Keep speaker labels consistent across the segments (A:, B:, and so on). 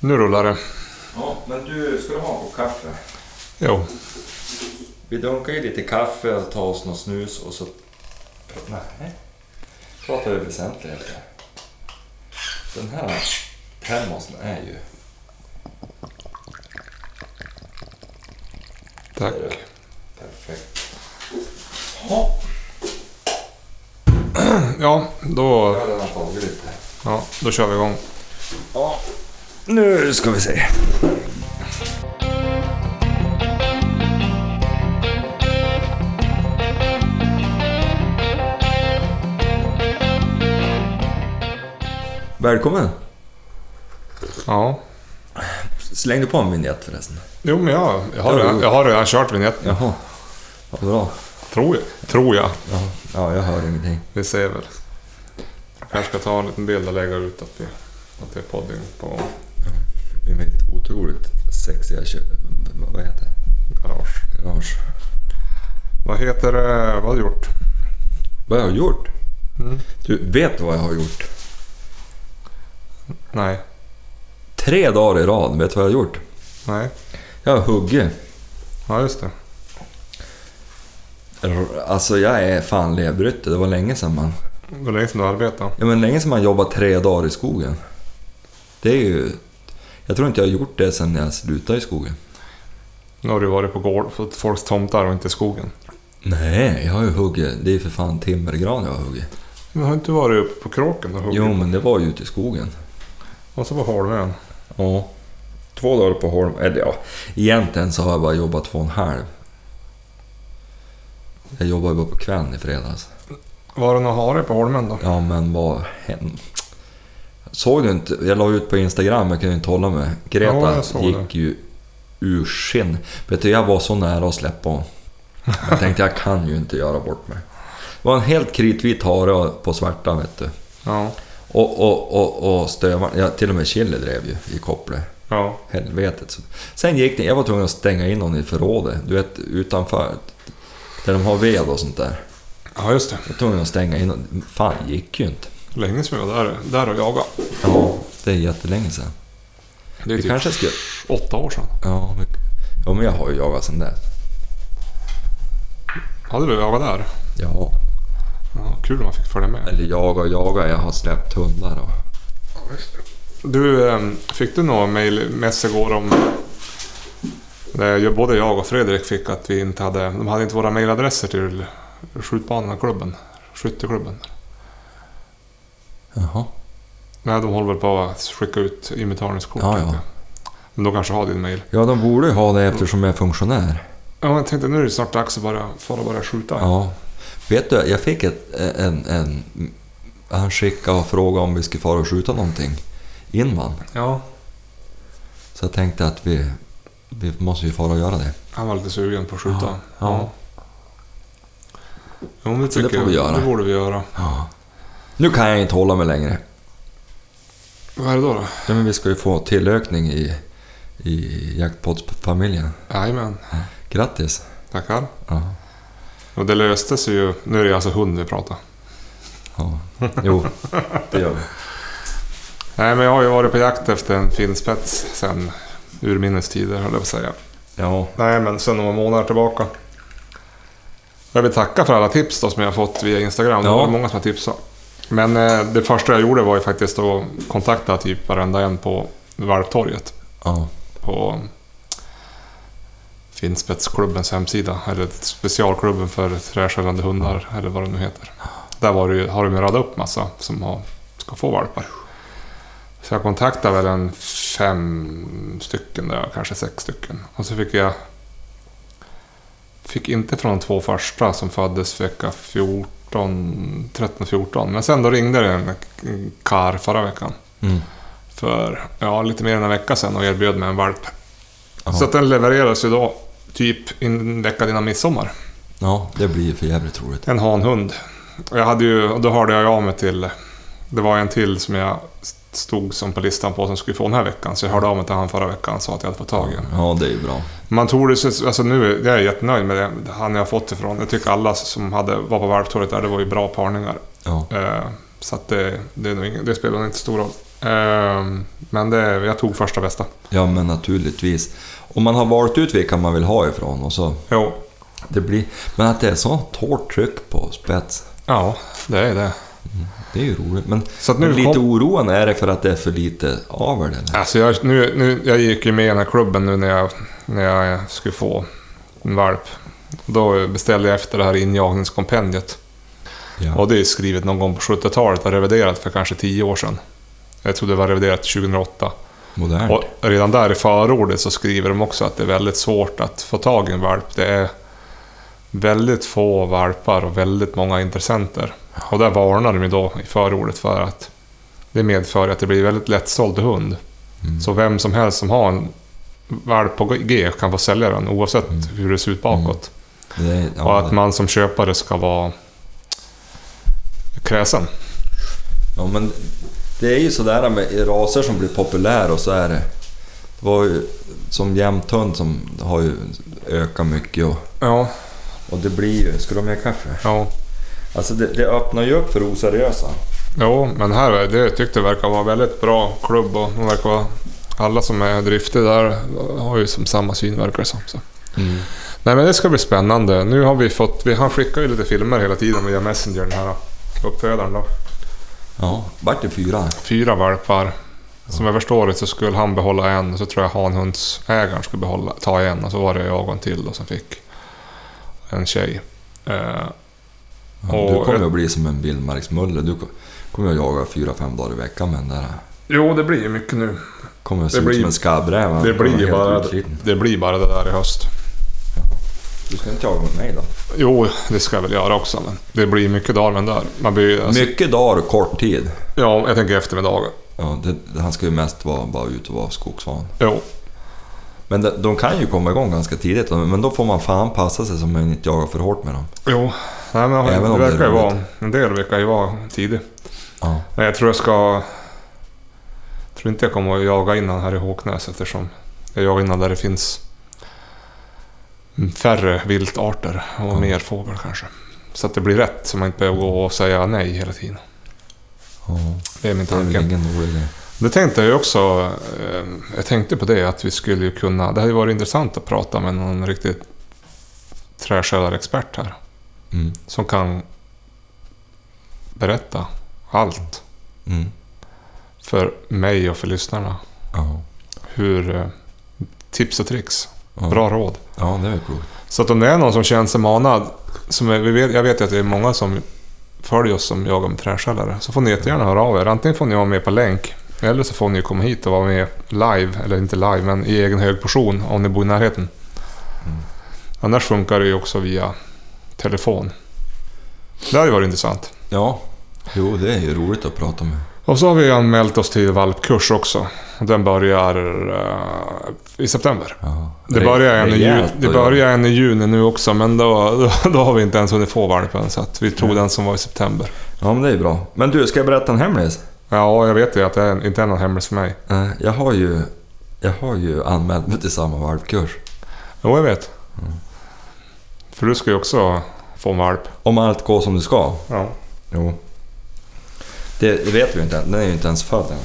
A: Nu rullar det.
B: Ja, men du, ska du ha en kopp kaffe?
A: Jo.
B: Vi dunkar ju lite kaffe och tar oss någon snus och så... Nej. Pratar vi väsentligheter. Den här termosen är ju...
A: Tack.
B: Perfekt. Ja,
A: Ja,
B: jag
A: då,
B: har redan tagit lite.
A: ja, då kör vi igång.
B: Ja, nu ska vi se. Välkommen!
A: Ja.
B: Slängde på en vignett förresten.
A: Jo, men jag, jag, har,
B: Jo,
A: redan,
B: jo.
A: jag har redan kört vignetten.
B: Jaha, vad bra.
A: Tror jag. Tror jag.
B: Ja, ja jag hör ingenting.
A: Vi ser väl. Jag kanske ska ta en liten bild och lägga ut att vi, att vi är podding på
B: I mitt otroligt sexiga kö... Vad heter det?
A: garage.
B: Garage.
A: Vad heter det? Vad har du gjort?
B: Vad jag har gjort? Mm. Du, vet du vad jag har gjort?
A: Nej.
B: Tre dagar i rad, vet du vad jag har gjort?
A: Nej.
B: Jag har huggit.
A: Ja, just det.
B: R- Alltså jag är fan levrytte, det var länge sedan man...
A: Det var länge sedan du arbetade.
B: Ja men länge sedan man jobbade tre dagar i skogen. Det är ju... Jag tror inte jag har gjort det sedan jag slutade i skogen.
A: Nu har du varit på gård, på folks tomtar och inte i skogen.
B: Nej, jag har ju huggit... Det är ju för fan timmergran jag har huggit.
A: Men har inte varit uppe på kråken och huggit?
B: Jo men det var ju ute i skogen.
A: Och så på Holmön.
B: Ja. Två dagar på Holm... Eller ja, egentligen så har jag bara jobbat två och en halv. Jag jobbade bara på kvällen i fredags.
A: Var det någon hare på Holmön då?
B: Ja men vad hände? Såg du inte? Jag la ut på Instagram, jag kunde inte hålla mig.
A: Ja,
B: Greta
A: jag såg
B: gick ju ur skinn. Vet du, jag var så nära att släppa hon. Jag tänkte jag kan ju inte göra bort mig. Det var en helt kritvit hare på svarta vet du.
A: Ja.
B: Och, och, och, och stövaren, ja, till och med Chili drev ju i kopplet.
A: Ja.
B: Helvetet. Så- Sen gick det, jag var tvungen att stänga in hon i förrådet. Du vet utanför. Där de har ved och sånt där.
A: Ja, just det.
B: Jag var tvungen att stänga in hon. Fan, gick ju inte.
A: Länge sedan vi var där, där och jagade.
B: Ja, det är jättelänge sedan.
A: Det är
B: Vi
A: typ
B: kanske ska...
A: åtta år sedan.
B: Ja, vi... ja, men jag har ju jagat sedan dess.
A: Hade du jagat där?
B: Ja.
A: Ja, kul om man fick följa med.
B: Eller jaga och jaga, jag har släppt hundar och...
A: Du, ehm, fick du något mejlmess igår om... Det jag- Både jag och Fredrik fick att vi inte hade... De hade inte våra mejladresser till skjutbanan-klubben. Skytteklubben.
B: Jaha.
A: Nej, de håller väl på att skicka ut inbetalningskort.
B: Ja, ja.
A: Men de kanske har din mejl.
B: Ja, de borde ju ha det eftersom jag är funktionär.
A: Ja, men jag tänkte nu är det snart dags att bara fara bara skjuta.
B: Ja. Vet du, jag fick ett, en, en... Han skickade och frågade om vi skulle fara och skjuta någonting. Inman.
A: ja.
B: Så jag tänkte att vi... Vi måste ju fara och göra det.
A: Han var lite sugen på att skjuta.
B: Ja, ja.
A: Ja. Jo, men det
B: Så det
A: tycker
B: får vi
A: jag.
B: göra.
A: Det borde vi göra.
B: Ja. Nu kan jag inte hålla mig längre.
A: Vad är det då? då?
B: Ja, men vi ska ju få tillökning i, i jackpottsfamiljen.
A: Jajamän.
B: Grattis!
A: Tackar.
B: Ja.
A: Och det löste sig ju. Nu är det alltså hund vi pratar.
B: Ja, jo, det gör vi.
A: Nej, men jag har ju varit på jakt efter en finspets sen urminnes tider, höll jag på att säga.
B: Ja,
A: Nej, men sen några månader tillbaka. Jag vill tacka för alla tips då som jag har fått via Instagram. Det
B: Ja.
A: var många som har tipsat. Men eh, det första jag gjorde var ju faktiskt att kontakta typ varenda en på Valptorget.
B: ja,
A: på Finspetsklubbens hemsida, eller specialklubben för träskällande hundar, eller vad det nu heter. Där var det, ju- har de ju radat upp massa som har, ska få valpar. Så jag kontaktade väl en fem stycken där, kanske sex stycken. Och så fick jag... Fick inte från de två första som föddes vecka 14, 13-14. Men sen då ringde det en kar förra veckan
B: mm,
A: för ja, lite mer än en vecka sedan och erbjöd mig en valp.
B: Ja.
A: Så att den levereras ju då typ en vecka innan midsommar.
B: ja, det blir ju för jävligt roligt.
A: En hanhund. Och jag hade ju, och då hörde jag av mig till... Det var en till som jag stod som på listan på som skulle få den här veckan. Så jag hörde av mig till han förra veckan och sa att jag hade fått tag i den.
B: Ja, det är ju bra.
A: Man tror det, så- alltså nu, är- jag är jättenöjd med det, han jag har fått ifrån. Jag tycker alla som hade, var på valptorget där, det var ju bra parningar.
B: Ja,
A: Eh, Så att det, det, är nog ingen, det spelar nog inte stor roll. Ehm, men det, jag tog första bästa.
B: Ja, men naturligtvis. Och man har valt ut vilka man vill ha ifrån och så...
A: Jo,
B: Det blir... Men att det är sånt hårt tryck på spets,
A: ja, det är det.
B: det är ju roligt. Men,
A: Så att
B: men
A: nu
B: lite
A: kom-
B: oroande är det för att det är för lite avel eller?
A: Alltså jag, nu, nu, jag gick ju med i den här klubben nu när jag, när jag skulle få en valp. Då beställde jag efter det här injagningskompendiet.
B: Ja.
A: Och det är skrivet någon gång på 70-talet och reviderat för kanske 10 år sedan. Jag tror det var reviderat 2008.
B: Modernt.
A: Och redan där i förordet så skriver de också att det är väldigt svårt att få tag i en valp. Det är väldigt få valpar och väldigt många intressenter. Och där varnar de ju då i förordet för att det medför att det blir väldigt lättsåld hund.
B: Mm.
A: Så vem som helst som har en valp på G kan få sälja den oavsett
B: Mm.
A: hur det ser ut bakåt.
B: Det är, ja,
A: Och att
B: det-
A: man som köpare ska vara kräsen.
B: Ja, men det är ju sådär med raser som blir populära och så är det. Det var ju som jämthund som har ju ökat mycket och,
A: Ja,
B: och det blir ju... Ska du ha mer kaffe?
A: ja.
B: Alltså det, det öppnar ju upp för oseriösa.
A: Jo, men här är- det tyckte jag verkar vara väldigt bra klubb och de verkar vara... Alla som är driftiga där har ju som samma syn verkar det som. Så.
B: Mm.
A: Nej men det ska bli spännande. Nu har vi fått... Vi, han skickar ju lite filmer hela tiden via Messenger den här uppfödaren då.
B: Ja, vart det fyra?
A: Fyra valpar. Som jag förstår det så skulle han behålla en och så tror jag hanhundsägaren skulle behålla, ta en och så var det jag och en till då som fick en tjej. Eh,
B: Ja, du
A: Och-
B: kommer ju att bli som en vildmarksmulle. Du ko- kommer ju att jaga fyra, fem dagar i veckan med den där.
A: jo, det blir ju mycket nu.
B: Kommer att se
A: Det
B: ut
A: blir-
B: som en skabbräv. Han
A: Det
B: kommer
A: blir, ju
B: helt
A: bara,
B: utsliten.
A: det blir bara det där i höst.
B: Du ska inte jaga med mig då?
A: Jo, det ska jag väl göra också, men det blir mycket dagar med den där. Man blir, alltså,
B: Mycket dagar och kort tid.
A: ja, jag tänker eftermiddagen.
B: Ja, det, han ska ju mest vara bara ut och vara skogsvan.
A: Jo,
B: Men de, de kan ju komma igång ganska tidigt, men då får man fan passa sig så man inte jagar för hårt med dem.
A: jo. Nej, men
B: Även
A: det
B: om det är
A: verkar ju
B: roligt.
A: vara... En del verkar ju vara tidig.
B: Ja.
A: Men jag tror jag ska... Jag tror inte jag kommer att jaga innan här i Håknäs eftersom jag jagar innan där det finns färre viltarter och
B: Ja.
A: mer fågel kanske. Så att det blir rätt, så man inte behöver gå och säga nej hela tiden. Det är min
B: det är
A: tanke.
B: väl ingen rolig grej.
A: Det tänkte jag ju också. eh, Jag tänkte på det att vi skulle ju kunna... Det hade ju varit intressant att prata med någon riktigt träskördarexpert här.
B: Mm.
A: Som kan berätta allt
B: Mm.
A: för mig och för lyssnarna.
B: Ja.
A: Hur... eh, Tips och tricks.
B: Ja.
A: Bra råd.
B: Ja, det är väl klokt.
A: Så att om det är någon som känner sig manad. Som är, vi vet, jag vet ju att det är många som följer oss som jagar med träskällare. Så får ni jättegärna höra av er. Antingen får ni vara med på länk. Eller så får ni komma hit och vara med live. Eller inte live, men i egen hög portion om ni bor i närheten. Annars funkar det ju också via telefon. Det hade ju varit intressant.
B: Ja. Jo, det är ju roligt att prata med.
A: Och så har vi anmält oss till valpkurs också. Den börjar eh, i september.
B: Ja.
A: Det börjar, en i juni,
B: Rejält
A: det
B: att
A: börjar en i juni nu också, men då, då, då har vi inte ens hunnit få valpen. Så att vi tog den som var i september.
B: göra. Ja, men det är ju bra. Men du, ska jag berätta en hemlis?
A: Ja, jag vet ju att det är- inte är någon hemlis för mig.
B: Eh, Jag har ju, jag har ju anmält mig till samma valpkurs.
A: Jo, jag vet.
B: Mm.
A: För du ska ju också få en valp.
B: Om allt går som det ska.
A: Ja.
B: Jo. Det vet vi ju inte än. Den är ju inte ens född än.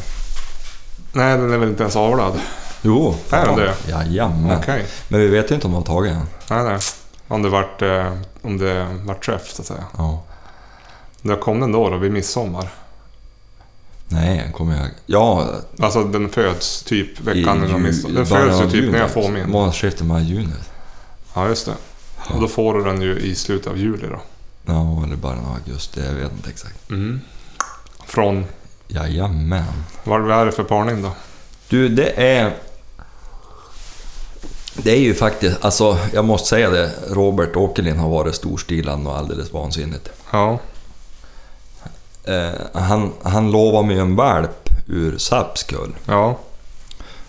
A: Nej, den är väl inte ens avlad.
B: Jo.
A: Är den det?
B: Jajamän.
A: Okej.
B: Men vi vet ju inte om de har tagit den.
A: Nej, nej. Om det vart, eh, om det vart träff, så att säga.
B: Ja.
A: När kom den då, då? Vid midsommar?
B: Nej, den kommer jag... Ja,
A: Alltså den föds typ veckan innan
B: ju-
A: midsommar. Den
B: början
A: föds ju
B: av
A: typ när
B: juni.
A: jag får min.
B: Månadsskiftet maj-juni.
A: Ja, just det. Och då får du den ju i slutet av juli då.
B: Ja, eller början av augusti. Jag vet inte exakt.
A: Mm. Från,
B: Jajamän.
A: vad vad är det för parning då?
B: Du, det är... Det är ju faktiskt... Alltså, jag måste säga det. Robert Åkerlind har varit storstilad och alldeles vansinnigt.
A: Ja,
B: Eh, han, han lovade mig en valp ur Sapskull.
A: ja,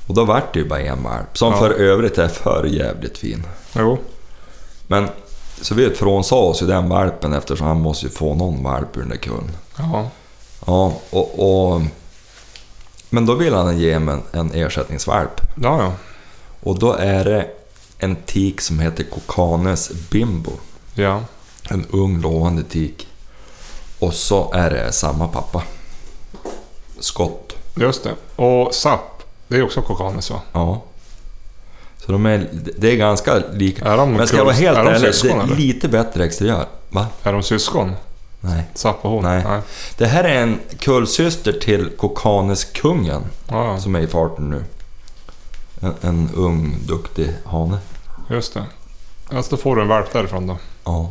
B: Och då vart det ju bara en valp. Som
A: Ja.
B: för övrigt är för jävligt fin.
A: jo,
B: Men... Så vi frånsade oss ju den valpen eftersom han måste ju få någon valp ur den där kullen.
A: ja,
B: Ja, och, och, men då vill han ge mig en, en ersättningsvalp.
A: ja, ja,
B: Och då är det en tik som heter Kokanes Bimbo.
A: ja,
B: En ung lovande tik. Och så är det samma pappa. Skott.
A: Just det. Och SAP, det är också kokanis va?
B: Ja. Så de är, det är ganska lika.
A: Är de,
B: Men ska jag vara
A: kuls-
B: helt
A: är de
B: ärlig, det
A: syskon
B: är
A: eller?
B: lite bättre exteriör. Va?
A: Är de syskon?
B: Nej.
A: SAP och hon?
B: Nej. Det här är en kullsyster till Kokanes-kungen
A: Ja,
B: som är i farten nu. En, en ung, duktig hane.
A: ja, just det. Alltså då får du en valp därifrån då.
B: Ja.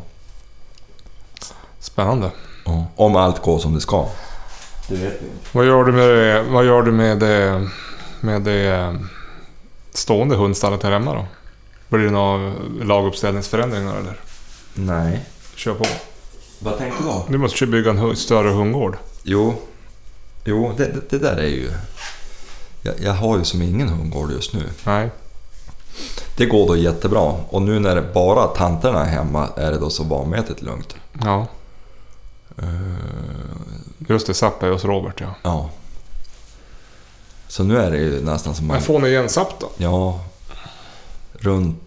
A: Spännande.
B: ja. Om allt går som det ska. Det vet vi
A: Vad gör du med det, vad gör du med det, med det eh, stående hundstallet här hemma då? Blir det några laguppställningsförändringar eller?
B: Nej.
A: Kör på.
B: Vad tänkte du
A: Du måste ju bygga en hu- större hundgård.
B: Jo, jo det, det, det där är ju... Jag, jag har ju som ingen hundgård just nu.
A: Nej.
B: Det går då jättebra. Och nu när det bara tanterna är hemma är det då så vanmätigt lugnt.
A: Ja. Eh, Just det, SAP är hos Robert ja.
B: Ja. Så nu är det ju nästan som man...
A: Men får ni igen SAP då?
B: Ja, runt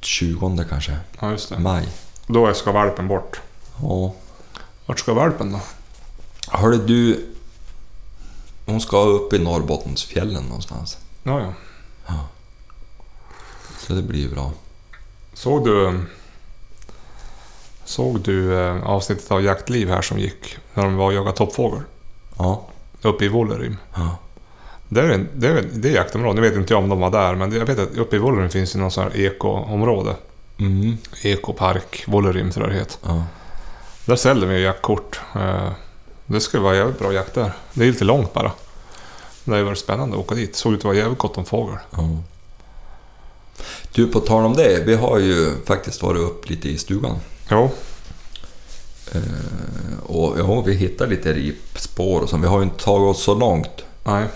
B: 20 kanske.
A: Ja, just det.
B: Maj.
A: Då ska valpen bort.
B: Ja.
A: Vart ska valpen då?
B: Hörde du... Hon ska upp i Norrbottensfjällen någonstans.
A: Ja, ja.
B: Så det blir ju bra.
A: Såg du... eh, Såg du eh, avsnittet av Jaktliv här som gick när de var och jagade toppfågel?
B: Ja.
A: Uppe i Vålerim.
B: ja.
A: Det är, en- det är, väl- det är jaktområde. Nu vet inte jag om de var där, men jag vet att uppe i Vålerim finns ju någon sån här ekoområde.
B: Mm.
A: Ekopark Vålerim tror jag det heter.
B: Ja.
A: Där säljer vi ju jaktkort. Eh, Det skulle vara jävligt bra jakt där. Det är lite långt bara. Det hade ju varit spännande att åka dit. Såg ut att vara jävligt gott om fågel.
B: ja. Du, på tal om det. Vi har ju faktiskt varit upp lite i stugan.
A: Jo,
B: Och ja, vi hittar lite ripspår och så. Vi har ju inte tagit oss så långt.
A: nej.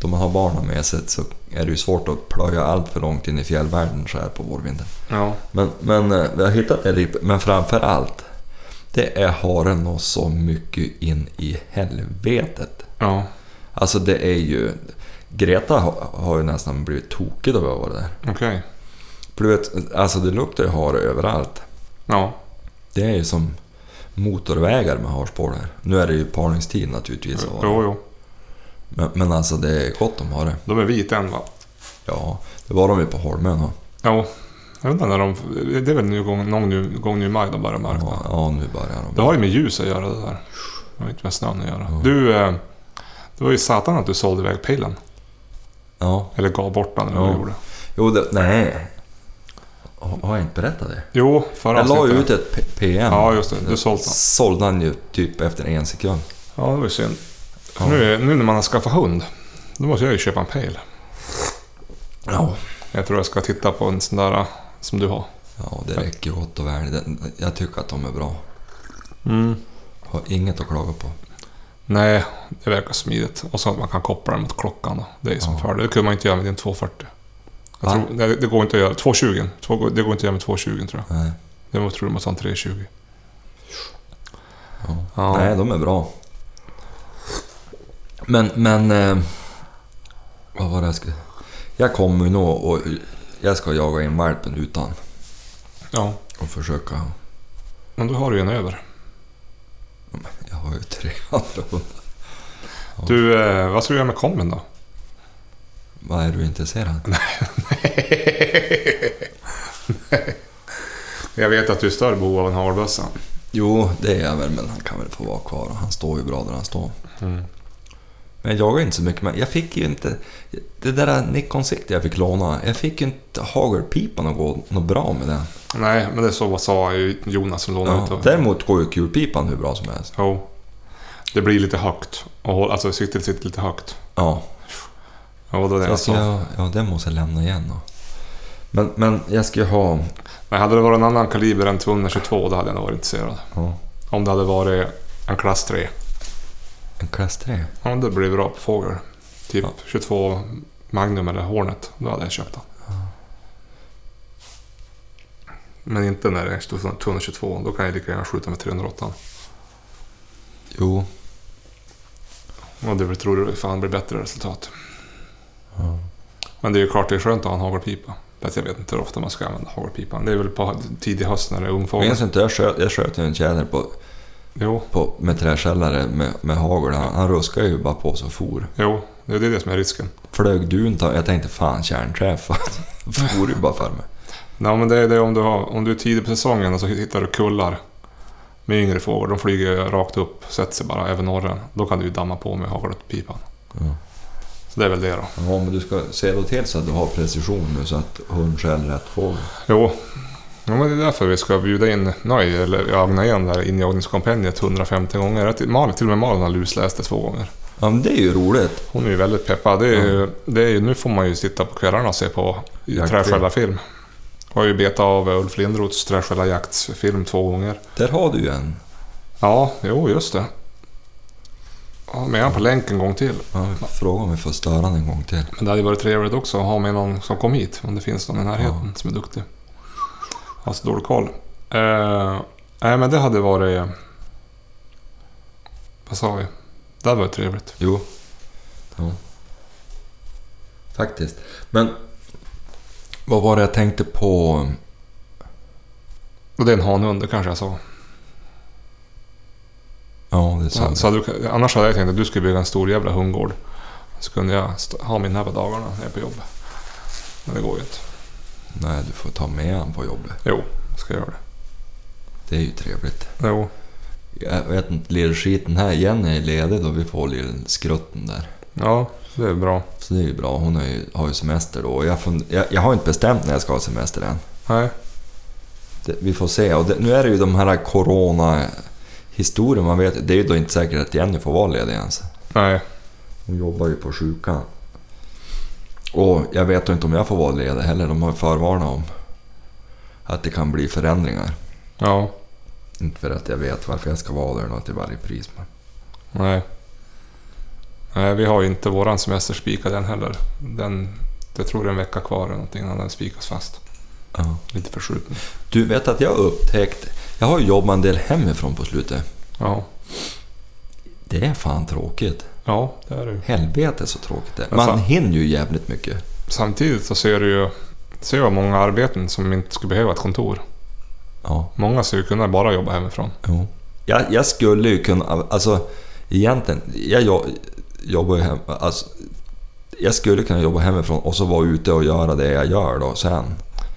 B: Då man har barnen med sig så är det ju svårt att plöja allt för långt in i fjällvärlden så här på vårvintern.
A: Ja.
B: Men, men eh, vi har hittat en ripa, men framför allt. Det är haren och så mycket in i helvetet.
A: Ja,
B: Alltså det är ju... Greta har, har ju nästan blivit tokig då vi har varit där.
A: okej.
B: För du vet, alltså det luktar ju hare överallt.
A: Ja,
B: Det är ju som motorvägar med harspår där. Nu är det ju parningstid naturligtvis. och-
A: jo, jo.
B: Men, men alltså det är gott om hare.
A: De är vita än va? va?
B: Ja, det var de ju på Holmön. och-
A: Jo. Jag vet inte när de... Det är väl nu gång, någon nu, gång nu i maj de börjar märka.
B: Ja, ja, nu börjar de.
A: Det har ju med ljus att göra det där. Det har inte med snön att göra. Du... eh, Det var ju satan att du sålde iväg pillen.
B: Ja.
A: Eller gav bort den eller vad
B: Ja.
A: du gjorde.
B: Jo, det, nej. Har har jag inte berättat det?
A: Jo, förra
B: Jag la ju
A: avsnittet.
B: ut ett P- PM.
A: Ja, just det. Du sålde den.
B: Sålde han ju typ efter en sekund.
A: Ja, det var ju synd. För Nu, nu när man har skaffat hund, då måste jag ju köpa en pejl.
B: Ja.
A: Jag tror jag ska titta på en sån där eh, som du har.
B: Ja, det räcker gott och väl. Den- Jag tycker att de är bra. Mm. Har inget att klaga på.
A: Nej, det verkar smidigt. Och så att man kan koppla den mot klockan. då. Det är ju som
B: Ja.
A: fördel. Det kunde man inte göra med din 240. Jag
B: Va?
A: tror, nej, det- det går inte att göra. 220. Två, det går inte att göra med 220 tror jag.
B: Nej.
A: Det var- tror jag måste ha en 320.
B: Ja.
A: Ja.
B: Nej, de är bra. Men, men... Eh, vad var det jag skulle... Jag kommer ju nog och jag ska jaga in valpen utan
A: Ja,
B: och försöka...
A: men då har du ju en över.
B: Jag har ju tre andra hundar.
A: Du, eh, vad ska du göra med kombin då?
B: Vad är du intresserad av?
A: Jag vet att du är större behov av en harlbössa.
B: Jo, det är jag väl, men han kan väl få vara kvar. och Han står ju bra där han står. Men jag jagar inte så mycket. Men jag fick ju inte... Det där Nikon-siktet jag fick låna, jag fick ju inte hagelpipan att gå något bra med den.
A: Nej, men det är så vad sa ju Jonas som lånade ut.
B: Ja,
A: och-
B: däremot går ju kulpipan hur bra som helst.
A: Jo. Det blir lite högt. Och håll, alltså siktet sitter lite högt.
B: Ja,
A: Ja, det var det jag
B: Alltså,
A: sa.
B: jag, ja, den måste jag lämna igen då. Men, men jag ska ju ha...
A: Men hade det varit en annan kaliber än 222 då hade jag nog varit intresserad.
B: Ja,
A: Om det hade varit en klass 3.
B: en klass 3.
A: Ja, men det blir bra på fågel. Typ
B: Ja.
A: 22 Magnum eller Hornet. Då hade jag köpt den. Men inte när det är 222. Då kan jag lika gärna skjuta med 308.
B: Jo,
A: Och det tror du fan blir bättre resultat. Men det är ju klart det är skönt att ha en hagelpipa. Fast jag vet inte hur ofta man ska använda hagelpipan. Det är väl på tidig höst när det är ungfågel.
B: minns inte. Jag sköt, jag sköt ju en tjäder på
A: Jo,
B: på, med träskällare med, med hagel. Han, han ruskade ju bara på som for.
A: jo, det är det som är risken.
B: Flög du inte Jag tänkte fan kärnträ. fan. for ju bara för mig.
A: Nej, men det är det om du, har, om du är tidig på säsongen och så hittar du kullar med yngre fåglar. De flyger ju rakt upp, sätter sig bara över norren. Då kan du ju damma på med hagelpipan.
B: Ja.
A: Så det är väl det då.
B: Ja, men du ska se då till så att du har precision nu så att hund skäller rätt fågel.
A: Jo, ja, men det är därför vi ska bjuda in Nöj, eller Agna igen, där injagningskompendiet 150 gånger. Att Malin, till och med Malin har lusläst det två gånger.
B: Ja, men det är ju roligt.
A: Hon är ju väldigt peppad. Det är, ju, det är ju, nu får man ju sitta på kvällarna och se på
B: Jaktfilm.
A: träskällarfilm. Jag har ju betat av Ulf Lindroths träskällarjaktsfilm två gånger.
B: Där har du ju en.
A: Ja, jo, just det. Ja, med han på länk en gång till.
B: Ja, vi får fråga om vi får störa den en gång till.
A: Men det hade ju varit trevligt också att ha med någon som kom hit, om det finns någon i närheten som är duktig. Jag har så dålig koll. Eh, nej, men det hade varit... Vad sa vi? Det hade varit trevligt.
B: Jo. Ja. Faktiskt. Men vad var det jag tänkte på?
A: Och det är en hanhund, det kanske jag sa.
B: Ja, det sa
A: Så, så hade du, annars hade jag tänkt att du skulle bygga en stor jävla hundgård. Så kunde jag st- ha min här på dagarna när jag är på jobb. Men det går ju inte.
B: Nej, du får ta med han på jobbet.
A: Jo, ska jag göra det.
B: Det är ju trevligt.
A: Jo,
B: Jag vet inte, lillskiten här igen är ledig då vi får lillskrutten där.
A: ja, det är bra.
B: Så det är ju bra. Hon har ju, har ju semester då. Och Jag, fund, jag, jag har inte bestämt när jag ska ha semester än.
A: Nej,
B: Det, vi får se. Och det, nu är det ju de här corona-historien. Man vet, det är ju då inte säkert att Jenny får vara ledig ens.
A: nej,
B: Hon jobbar ju på sjukan. Och jag vet ju inte om jag får vara ledig heller. De har ju förvarnat om att det kan bli förändringar.
A: ja,
B: Inte för att jag vet varför jag ska vara där då till varje pris. Men
A: nej. Nej, vi har ju inte våran semester spikad än heller. Den, det tror jag är en vecka kvar eller någonting innan den spikas fast.
B: ja.
A: Lite förskjuten.
B: Du vet att jag har upptäckt... Jag har ju jobbat en del hemifrån på slutet.
A: Ja,
B: Det är fan tråkigt.
A: ja, det är det ju.
B: Helvete så tråkigt det är.
A: Men
B: Man
A: fan-
B: hinner ju jävligt mycket.
A: Samtidigt så ser du ju ser jag många arbeten som inte skulle behöva ett kontor.
B: Ja,
A: Många skulle kunna bara jobba hemifrån.
B: jo. Jag, jag skulle ju kunna... Alltså egentligen, jag jo, jobbar ju hem... Alltså, jag skulle kunna jobba hemifrån och så vara ute och göra det jag gör då sen.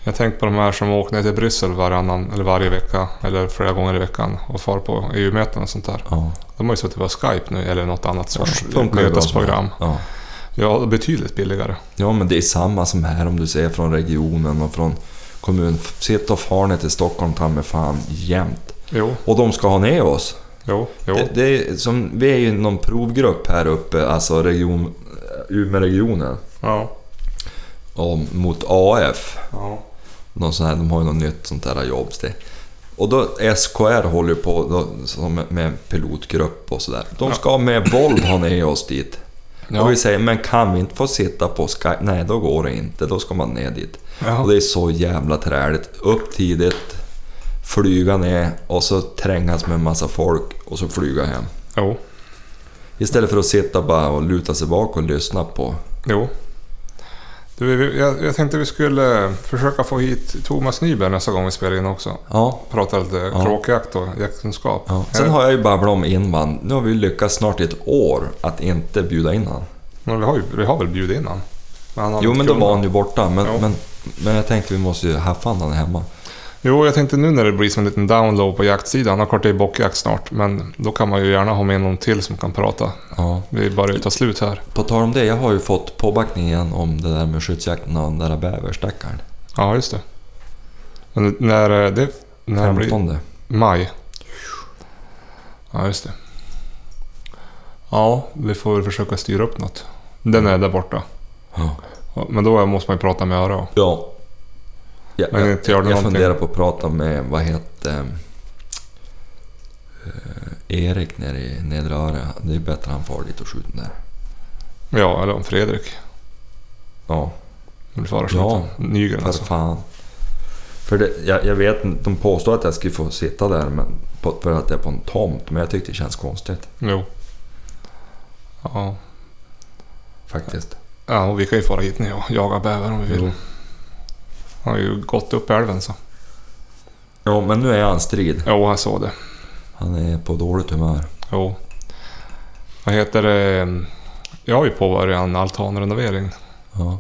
A: Jag tänker på de här som åker ner till Bryssel varannan, eller varje vecka eller flera gånger i veckan och far på EU-möten och sånt där.
B: Ja.
A: De har ju suttit på Skype nu eller något annat sorts
B: Funkar ju bra som
A: mötesprogram.
B: helst. Ja.
A: Ja, betydligt billigare.
B: ja, men det är samma som här om du ser från regionen och från kommun. Sitt och far ner till Stockholm ta med fan jämt.
A: Jo,
B: Och de ska ha ner oss.
A: jo, jo.
B: Det, det är som, vi är ju någon provgrupp här uppe, alltså region, eh, Umeåregionen.
A: Ja.
B: om- Mot AF.
A: ja.
B: Någon sån här, de har ju något nytt sånt där jobb. så det- Och då SKR håller ju på då, som med- med pilotgrupp och sådär. De ska med våld ha ner oss dit. Och vi säger, men kan vi inte få sitta på Skype? Nej, då går det inte. Då ska man ner dit.
A: Ja.
B: Och det är så jävla träligt. Upp tidigt, flyga ner och så trängas med en massa folk och så flyga hem.
A: Jo,
B: Istället för att sitta bara och luta sig bak och lyssna på.
A: jo. Du, vi- jag, jag tänkte vi skulle försöka få hit Thomas Nyberg nästa gång vi spelar in också.
B: Ja.
A: Prata lite
B: Ja.
A: kråkjakt och jaktkunskap.
B: ja. Sen har jag ju babblat om invand. Nu har vi lyckats snart i ett år att inte bjuda in han.
A: Eh, Men vi, har ju, vi har väl bjudit in han? Men han har
B: Jo
A: inte
B: men då
A: kunnat.
B: var han ju borta. Men,
A: Ja.
B: men, men jag tänkte vi måste ju haffa han hemma.
A: Jo, jag tänkte nu när det blir som en liten download på jaktsidan. Och klart det är bockjakt snart, men då kan man ju gärna ha med någon till som kan prata.
B: Ja.
A: Vi börjar ju ta slut här.
B: På tal om det, jag har ju fått påbackning igen om det där med skyddsjakten av den där bäverstackaren.
A: Ja, just det. Men när eh, det... När blir
B: 15.
A: Maj. Ja, just det. Ja, vi får väl försöka styra upp något. Den är där borta.
B: Ja.
A: Ja, Men då måste man ju prata med Öra.
B: Ja. Jag,
A: Men
B: jag,
A: inte gör det
B: jag, jag
A: någonting.
B: funderar på att prata med, vad heter eh, Erik nere i Nedre Öre. Det är bättre han far dit och skjuter där.
A: Ja, eller om Fredrik.
B: Ja,
A: Vill fara
B: Ja,
A: ja, Nygren
B: för
A: alltså.
B: fan. För det, jag, jag vet inte, de påstår att jag skulle få sitta där men, på, för att jag är på en tomt. Men jag tyckte det känns konstigt
A: Jo. Ja.
B: faktiskt.
A: ja, och vi kan ju fara hit nu och jaga bäver om vi vill.
B: Jo.
A: Han har ju gått upp älven så.
B: Ja, men nu är jag en strid.
A: Jo, jag såg det.
B: Han är på dåligt humör.
A: Jo. Vad heter det? Jag har ju påbörjat en altanrenovering.
B: Ja.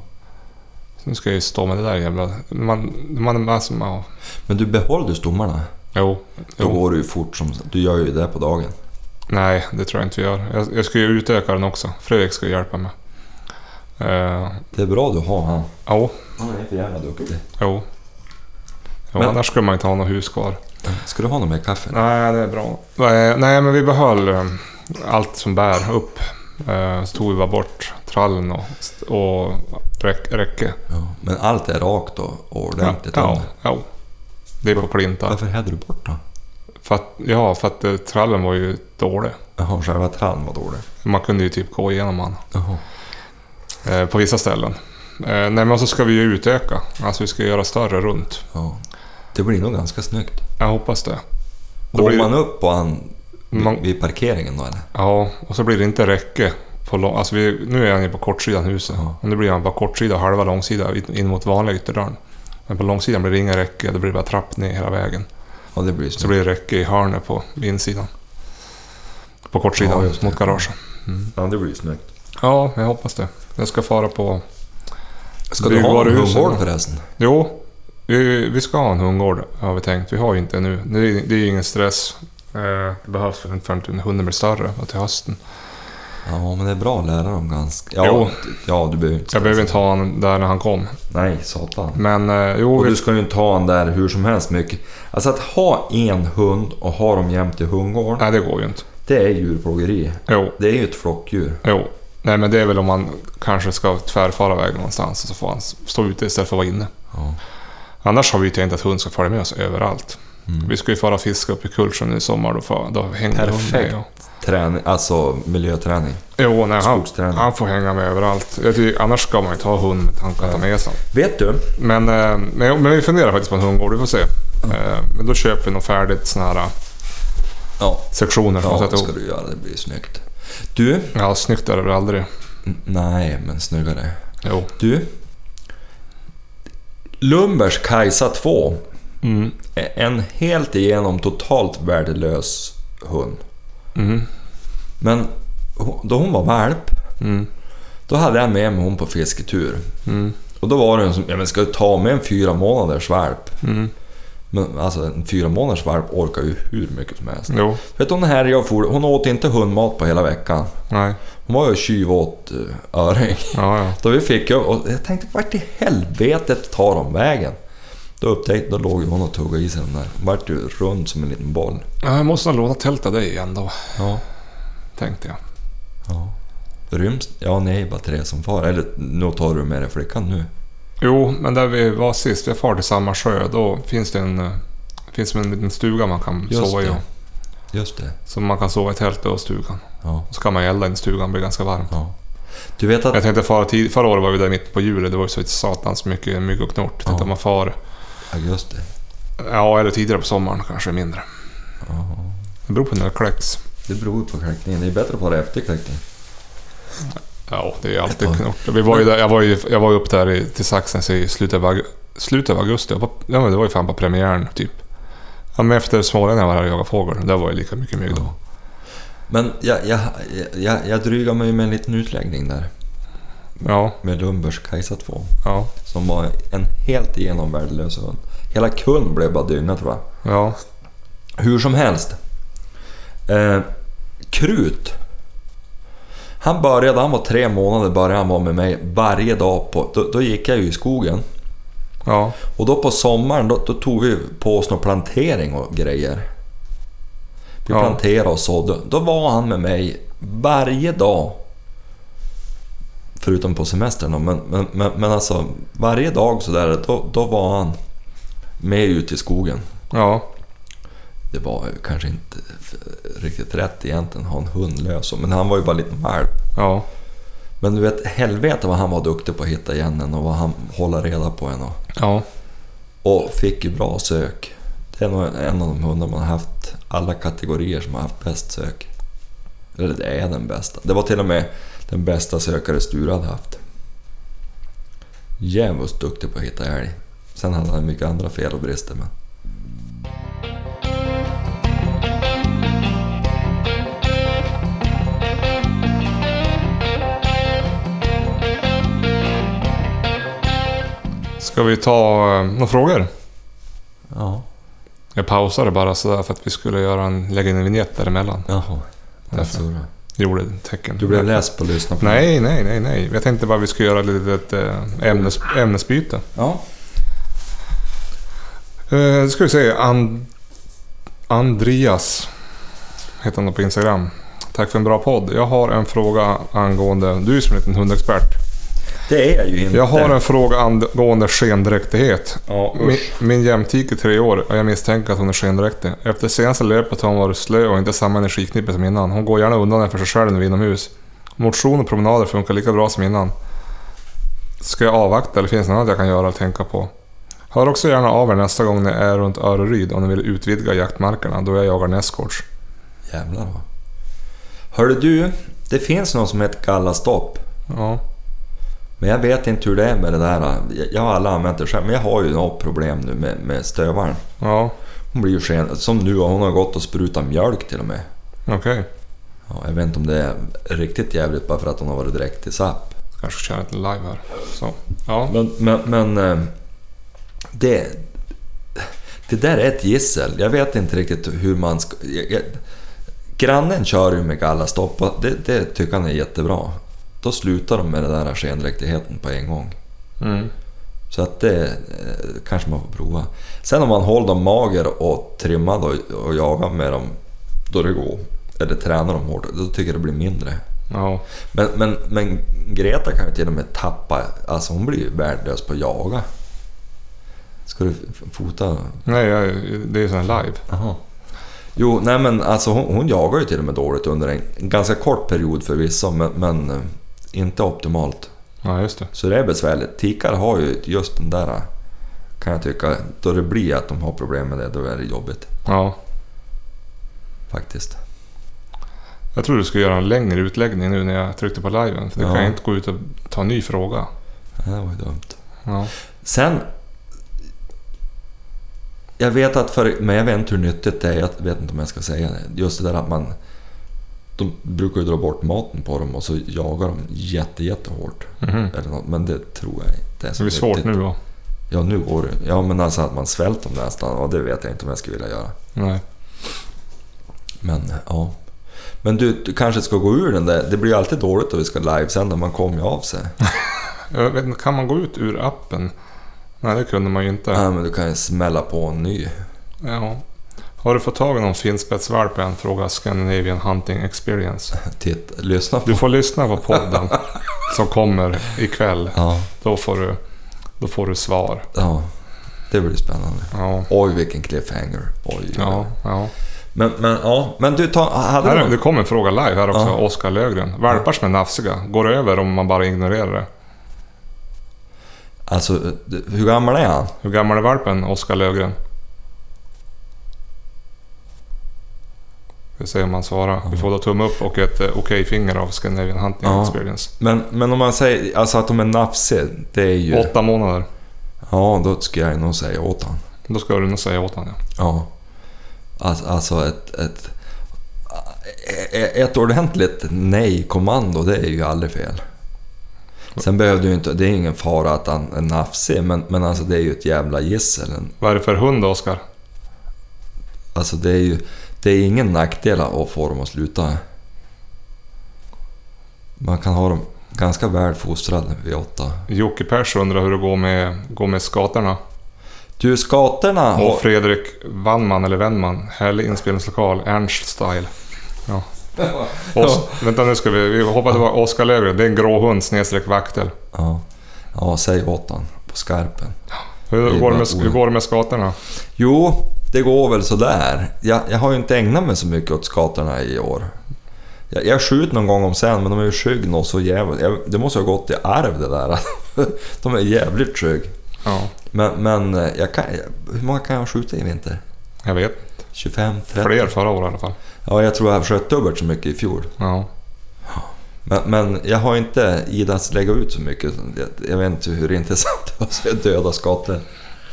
A: Så nu ska jag ju stå med det där jävla... Man, man, alltså, ja.
B: Men du behåller ju stommarna.
A: Jo.
B: Då
A: jo.
B: går det ju fort som... Du gör ju det på dagen.
A: Nej, det tror jag inte vi gör. Jag, jag ska ju utöka den också. Fredrik ska hjälpa mig. Eh,
B: Det är bra du har han.
A: jo,
B: Han är för jävla duktig.
A: jo. jo
B: Men-
A: Annars skulle man inte ha något hus kvar.
B: Ska du ha något mer kaffe?
A: Nej, det är bra. Eh, Nej, men vi behöll eh, allt som bär upp. Eh, Så tog vi bara bort trallen och, och räck, räcke.
B: Ja. Men allt är rakt och och ordentligt
A: ja,
B: under.
A: ja. Det är på klintar.
B: Varför hädde du bort då?
A: För att, ja, för att eh, trallen var ju dålig.
B: Jaha, själva trallen var dålig.
A: Man kunde ju typ gå igenom han
B: Jaha.
A: eh, på vissa ställen. Eh, Nej, men så ska vi ju utöka. Alltså vi ska göra större runt.
B: Ja. Det blir nog ganska snyggt.
A: Jag hoppas det. Då
B: Går
A: blir-
B: man upp på han
A: Man-
B: vid, vid parkeringen då eller?
A: Ja, och så blir det inte räcke. På lång, alltså vi, nu är han ju på kortsidan huset.
B: Ja.
A: Och nu blir han bara kortsida och halva långsida in in mot vanliga ytterdörren. Men på långsidan blir det inga räcke. Det blir bara trapp ner hela vägen.
B: Ja, det blir
A: Så
B: snyggt.
A: blir det räcke i hörnet på insidan. På kortsidan
B: Ja, just det.
A: mot garaget.
B: Ja, det blir snyggt.
A: Ja, jag hoppas det. Jag ska fara på...
B: Ska
A: Blir
B: du ha
A: bara
B: en
A: husen
B: hundgård
A: då?
B: förresten?
A: Jo, vi, vi ska ha en hundgård har vi tänkt. Vi har ju inte nu. Det är, det är ingen stress. Eh, Det behövs väl inte förrän hunden blir större och till hösten.
B: Ja, men det är bra att lära dem ganska... Ja,
A: Jo.
B: ja du behöver inte...
A: Jag behöver inte ha honom där när han kom.
B: Nej, satan.
A: Men eh, jo,
B: Och
A: vi
B: du ska ju inte ha en där hur som helst mycket. Alltså att ha en hund och ha dem jämt i hundgården,
A: Nej, det går ju inte.
B: det är djurplågeri.
A: Jo,
B: Det är ju ett flockdjur.
A: jo. Nej, men det är väl om man kanske ska tvärfara vägen någonstans och så får han s- stå ute istället för att vara inne.
B: Ja.
A: Annars har vi ju tänkt att hund ska följa med oss överallt.
B: Mm.
A: Vi ska ju fara och fiska upp i Kultsjön nu i sommar. Då, får- då hänger
B: Perfekt.
A: hunden med. och-
B: Träning, alltså miljöträning.
A: Jo, nej, han,
B: Skogsträning.
A: han får hänga med överallt. Jag tycker, annars ska man ju ta hund med tanke att ta med sig.
B: Vet du?
A: Men, eh, men, men vi funderar faktiskt på en hundgård, vi får se. Eh, Men då köper vi nog färdigt såna här eh,
B: Ja,
A: sektioner som man
B: ja
A: sätter
B: det ska
A: ihop.
B: du göra. Det blir snyggt. Du?
A: Ja, snyggt är det väl aldrig.
B: N- Nej, men snyggare.
A: Jo.
B: Du? Lumbers Kajsa 2
A: Mm.
B: är en helt igenom totalt värdelös hund.
A: Mm.
B: Men ho- då hon var valp,
A: Mm.
B: då hade jag med mig hon på fisketur.
A: Mm.
B: Och då var det en som, ja men ska du ta med en fyra månaders valp?
A: Mm.
B: Men alltså en fyra månaders valp orkar ju hur mycket som helst.
A: Jo,
B: Vet du hon här jag for, hon åt inte hundmat på hela veckan.
A: nej.
B: Hon var ju tjuv åt eh, öring.
A: Ja, ja.
B: Då vi fick jag, och jag tänkte vart i helvetet tar de vägen? Då upptäckte då låg ju hon och tuggade i sig den där. Hon vart ju rund som en liten boll.
A: Ja, Jag måste nog låna tält av dig igen då,
B: Ja.
A: tänkte jag.
B: ja. Ryms... Ja, ni är ju bara tre som far. Eller nu tar du med dig flickan nu.
A: Jo, men där vi var sist, vi far till samma sjö, då finns det en, eh, finns det en liten stuga man kan
B: Just
A: sova i.
B: det. Just det.
A: Så man kan sova i tältet och stugan.
B: Ja.
A: Och så kan man elda i stugan, blir ganska varm.
B: ja. Du vet
A: Jag
B: att...
A: tänkte fara tid, förra året var vi där mitt på julen, det var ju så satans mycket mygg och knort. Jag tänkte
B: Ja.
A: om man far,
B: Ja, just det.
A: ja eller tidigare på sommaren kanske mindre.
B: Ja.
A: Det beror på när det kläcks.
B: Det beror ju på kläckningen. Det är bättre att fara efter kläckningen.
A: Ja, det är ju
B: Ett
A: alltid
B: tag.
A: knort. Vi var ju där, jag, var ju, jag var ju upp där i, till Saxnäs i slutet av, aug- slutet av augusti. Jag var, ja, men det var ju fan på premiären typ. Ja, men efter smålänningarna var jag och jagade fågel. Där var ju lika mycket mygg då.
B: Men jag, jag, jag, jag drygar mig med en liten utläggning där.
A: Ja,
B: Med Lundbergs Kajsa 2.
A: ja,
B: Som var en helt igenom värdelös hund. Hela kullen blev bara dynga tror jag.
A: ja.
B: Hur som helst. Eh, krut. Han började, han var tre månader började han vara med mig varje dag. På, då, då gick jag ju i skogen.
A: ja.
B: Och då på sommaren då, då tog vi på oss någon plantering och grejer. Vi
A: Ja.
B: planterade och sådde. Då var han med mig varje dag. Förutom på semestern då, men, men, men, men alltså varje dag sådär, då, då var han med ute i skogen.
A: ja.
B: Det var ju kanske inte f- riktigt rätt egentligen att ha en hund lös, men han var ju bara en liten valp.
A: Ja,
B: Men du vet, helvete vad han var duktig på att hitta igen en och vad han håller reda på en. Och,
A: ja,
B: och fick ju bra sök. Det är nog en av de hundar man har haft, alla kategorier som har haft bäst sök. Eller det är den bästa. Det var till och med den bästa sökare Sture hade haft. Djävulskt duktig på att hitta älg. Sen hade han mycket andra fel och brister men...
A: Ska vi ta eh, några frågor?
B: Ja.
A: Jag pausade bara sådär för att vi skulle göra en, lägga in en vignett däremellan.
B: Jaha.
A: Därför.
B: Därför.
A: Gjorde ett tecken.
B: Du blev läst på att lyssna på det.
A: Nej, nej, nej, nej. Jag tänkte bara vi skulle göra ett litet eh, ämnes, ämnesbyte.
B: Ja.
A: Eh, då ska vi se. And, Andreas heter han då på Instagram. Tack för en bra podd. Jag har en fråga angående... Du är som en liten hundexpert.
B: Det är jag ju inte.
A: Jag har en fråga angående skendräktighet.
B: Ja,
A: Min,
B: usch.
A: min jämtik är tre år och jag misstänker att hon är skendräktig. Efter senaste löpet har hon varit slö och inte samma energiknippe som innan. Hon går gärna undan den för sig själv när vi är inomhus. Motion och promenader funkar lika bra som innan. Ska jag avvakta eller finns det något annat jag kan göra och tänka på? Hör också gärna av er nästa gång ni är runt Öreryd om ni vill utvidga jaktmarkerna då jag jagar nästgårds.
B: Jävlar vad. Hörde du, det finns något som heter gallastopp.
A: Ja,
B: Men jag vet inte hur det är med det där. Jag- Jag har aldrig använt det själv, men jag har ju något problem nu med, med stövaren.
A: ja,
B: Hon blir ju sken, som nu, hon har gått och sprutat mjölk till och med.
A: okej.
B: Ja, jag vet inte om det är riktigt jävligt bara för att hon har varit direkt i SAP.
A: Kanske köra lite live här. Så. Ja,
B: Men, men, men eh, det, det där är ett gissel. Jag vet inte riktigt hur man ska... Jag, jag, grannen kör ju med gallastopp och det, det tycker han är jättebra. Då slutar de med den där skendräktigheten på en gång.
A: mm.
B: Så att det eh, kanske man får prova. Sen om man håller dem mager och trimmad och, och jagar med dem då det går, eller tränar dem hårt, då tycker jag det blir mindre.
A: ja.
B: Men, men, men Greta kan ju till och med tappa, alltså hon blir ju värdelös på att jaga. Ska du f- fota?
A: Nej, jag, det är ju sån här live.
B: Aha. Jo, nej men alltså hon, hon jagar ju till och med dåligt under en ganska kort period förvisso, men, men eh, inte optimalt.
A: Ja, just det.
B: Så det är besvärligt. Tikar har ju just den där, eh, kan jag tycka, då det blir att de har problem med det, då är det jobbigt
A: Ja.
B: faktiskt.
A: Jag tror du ska göra en längre utläggning nu när jag tryckte på liven. För det kan
B: Ja.
A: jag inte gå ut och ta en ny fråga.
B: Det här var ju dumt.
A: Ja.
B: Sen... Jag vet att för, men jag vet inte hur nyttigt det är. Jag vet inte om jag ska säga det. Just det där att man... De brukar ju dra bort maten på dem och så jagar de jätte, jättehårt.
A: Mhm.
B: Eller något, men det tror jag inte är
A: Så
B: så
A: det är svårt
B: nyttigt.
A: nu då?
B: Ja, nu går det. Ja, men alltså att man svälter dem nästan. Och det vet jag inte om jag skulle vilja göra.
A: Nej.
B: Men ja. Men du, du kanske ska gå ur den där. Det blir ju alltid dåligt när vi ska livesända. Man kommer ju av sig.
A: Jag vet, inte, kan man gå ut ur appen? Nej, det kunde man ju inte.
B: Ja, men du kan ju smälla på en ny.
A: Ja. Har du fått tag i någon finspetsvalp än? Frågar Scandinavian Hunting Experience.
B: Titt, lyssna på...
A: Du får lyssna på podden som kommer ikväll.
B: Ja.
A: Då får du, då får du svar.
B: Ja, det blir spännande.
A: Ja.
B: Oj, vilken cliffhanger. Oj.
A: Ja, ja.
B: Men, men, ja. men du, ta, hade
A: Här,
B: du...
A: det kom en fråga live här också.
B: Ja.
A: Oskar Löfgren. Valpar som är nafsiga, går över om man bara ignorerar det?
B: Alltså, du- hur gammal är han?
A: Hur gammal är valpen, Oskar Lövgren? Vi ser om han svarar. Vi får då tumme upp och ett eh, okej-finger av Scandinavian Hunting
B: Ja.
A: Experience.
B: Men, men om man säger alltså att de är nafsiga, det är ju...
A: Åtta månader.
B: Ja, då skulle jag nog säga åt han.
A: Då ska du nog säga åt honom. Ja.
B: Ja. Alltså, alltså ett, ett... Ett ordentligt nej-kommando, det är ju aldrig fel. Sen behövde ju inte... Det är ingen fara att han är nafsig, men, men alltså det är ju ett jävla gissel. En-
A: Vad är det för hund då, Oskar?
B: Alltså det är ju det är ingen nackdel att få dem att sluta. Man kan ha dem ganska väl fostrade vid åtta.
A: Jocke Pers undrar hur det går med, går med skatorna.
B: Du, skatorna har...
A: Och Fredrik Wannman, eller Wennman. Härlig inspelningslokal. Ernst Style. Ja. Os- Vänta nu ska vi... Vi hoppar tillbaka. Oskar Lövgren. Det är en grå hund snedstreck vaktel.
B: Ja, ja säg åt han på skarpen.
A: Hur
B: är
A: går, det
B: bara
A: med, hur
B: ord.
A: går det med skatorna?
B: Jo, det går väl sådär. Jag, jag har ju inte ägnat mig så mycket åt skatorna i år. Jag, jag skjuter någon gång om sen, men de är ju skygg något så jävligt. Jag, det måste ha gått i arv det där. De är jävligt skygg.
A: Ja,
B: Men, men eh, jag kan, hur många kan jag skjuta i vinter?
A: jag vet.
B: 25, 30?
A: Fler förra året i alla fall.
B: Ja, jag tror jag sköt dubbelt så mycket i fjol.
A: Ja.
B: Men, men jag har inte idats lägga ut så mycket. Jag, jag vet inte hur intressant det var att se döda skator.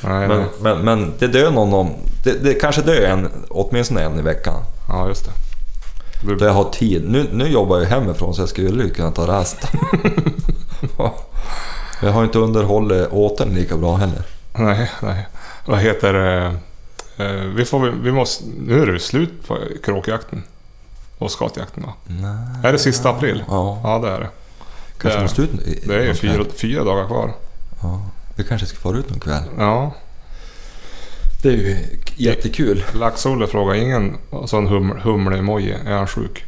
A: Nej,
B: Men,
A: nej.
B: men, men det dör någon om... Det, det kanske dör en, åtminstone en i veckan.
A: Ja, just det.
B: Då
A: Du,
B: jag har tid. Nu, nu jobbar jag hemifrån så jag skulle ju kunna ta rast. Jag har inte underhållit återn lika bra heller.
A: Nej, nej. Vad heter det? Eh, Vi får, väl- vi måste, nu är det ju slut på kråkjakten. Och skatjakten va?
B: Nej.
A: Är det sista april?
B: Ja,
A: Ja, det är det.
B: kanske
A: det-
B: måste ut i-
A: Det är ju
B: någon
A: fyra,
B: kväll.
A: fyra dagar kvar.
B: Ja. Vi kanske ska fara ut någon kväll.
A: Ja.
B: Det är ju jättekul.
A: Lax-Olle frågar ingen sån hum, humle-emoji. Är han sjuk?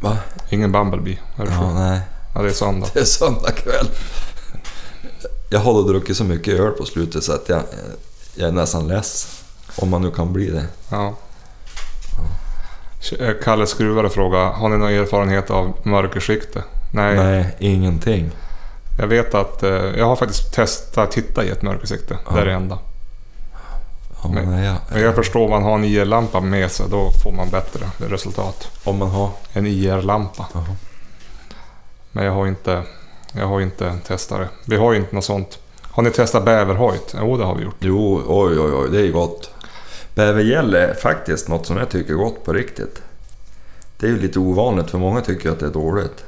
B: Va?
A: Ingen Bumblebee. Är du
B: Ja,
A: sjuk?
B: nej.
A: Ja, det är söndag.
B: Det är söndag kväll. Jag har då druckit så mycket öl på slutet så att jag, jag är nästan less. Om man nu kan bli det.
A: Ja. Eh, Kalle Skruvare frågar. Har ni någon erfarenhet av mörkersikte? Nej.
B: Nej, ingenting.
A: Jag vet att... eh, Jag har faktiskt testat att titta i ett mörkersikte.
B: Ja.
A: Det är det enda.
B: Om
A: Nej.
B: man, är,
A: Men jag förstår, om man har en IR-lampa med sig, då får man bättre resultat.
B: om man har...
A: En IR-lampa.
B: Jaha.
A: Men jag har inte, jag har inte testat det. Vi har ju inte något sånt. Har ni testat bäverhojt? Jo, det har vi gjort.
B: Jo, oj, oj, oj, det är gott. Bävergäll är faktiskt något som jag tycker är gott på riktigt. Det är ju lite ovanligt för många tycker ju att det är dåligt.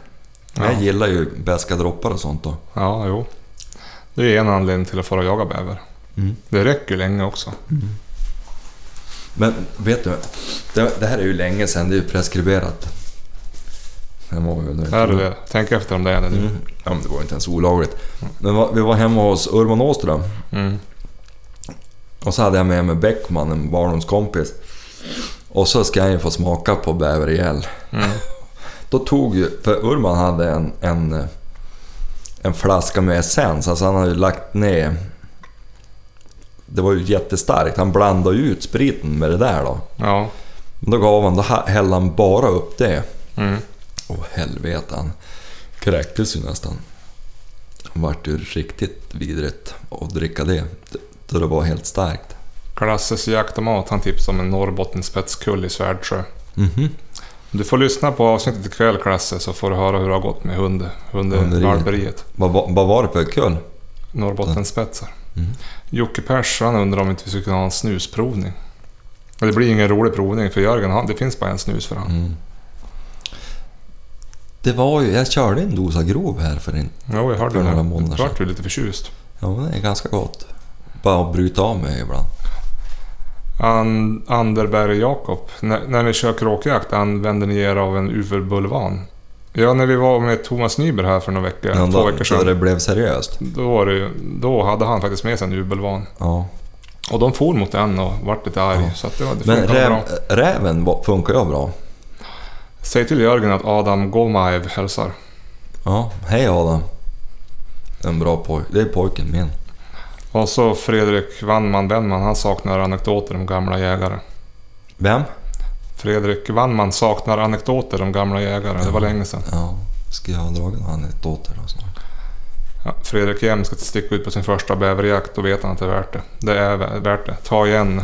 B: Men
A: Ja.
B: Jag gillar ju beska droppar och sånt då.
A: Ja, jo. Det är en anledning till att fara och jaga bäver.
B: Mm.
A: Det räcker länge också.
B: Men vet du, det, det här är ju länge sedan, det är ju preskriberat. Det var ju
A: Är det det? Tänk efter om det är det nu.
B: Mm. Ja, men det var ju inte ens olagligt. Men va- vi var hemma hos Urban Åström
A: Mm.
B: och så hade jag med mig Bäckman, en barndomskompis. Och så ska jag ju få smaka på bävergäll.
A: Mm.
B: Då tog ju, för Urban hade en, en, en flaska med essens, alltså han hade ju lagt ner... Det var ju jättestarkt, han blandade ju ut spriten med det där då.
A: Ja.
B: Men då gav han, då ha- hällde han bara upp det.
A: Mm.
B: Åh helvete, han kräktes ju nästan. Han vart ju riktigt vidrigt att dricka det, då det var helt starkt.
A: Klasses jaktmat, han tipsade om en Norrbottenspetskull i Svärdsjö.
B: Mhm.
A: Du får lyssna på avsnittet ikväll Klasse, så får du höra hur det har gått med hund,
B: Hunderiet.
A: hundvalperiet.
B: Vad, vad, vad var det för kul?
A: Norrbottenspetsar.
B: Mm.
A: Jocke Pers, han undrar om inte vi skulle kunna ha en snusprovning. Men det blir ingen rolig provning för Jörgen, han, det finns bara en snus för han.
B: Mm. Det var ju, jag körde en dosa grov här för en
A: Jo, jag hörde
B: Mm. För
A: det.
B: några
A: nu.
B: månader
A: Du vart ju lite förtjust.
B: Ja, men det är ganska gott. Bara att bryta av mig ibland.
A: An, Anderberg Jakob, när, när ni kör kråkjakt använder ni er av en uverbulvan? Ja, när vi var med Thomas Nyber här för några veckor,
B: Men
A: två
B: då,
A: veckor sedan.
B: då det blev seriöst.
A: Då, var det, ju- då hade han faktiskt med sig en uverbulvan.
B: Ja.
A: Och de for mot en och vart lite arg.
B: Ja.
A: Så att det, var- det
B: Men
A: funkade bra.
B: räv, räven var- funkar ju bra.
A: Säg till Jörgen att Adam Gomaev hälsar.
B: Ja, hej Adam. En bra pojk. Det är pojken min.
A: Och så Fredrik Wannman Wennman, han saknar anekdoter om gamla jägare.
B: Vem?
A: Fredrik Wannman saknar anekdoter om gamla jägare. Det var länge sedan.
B: Ja, ska jag ha dragit några anekdoter då snart?
A: Ja, Fredrik Hjelm ska sticka ut på sin första bäverjakt. Då vet han att det är värt det. Det är vä- värt det. Ta igen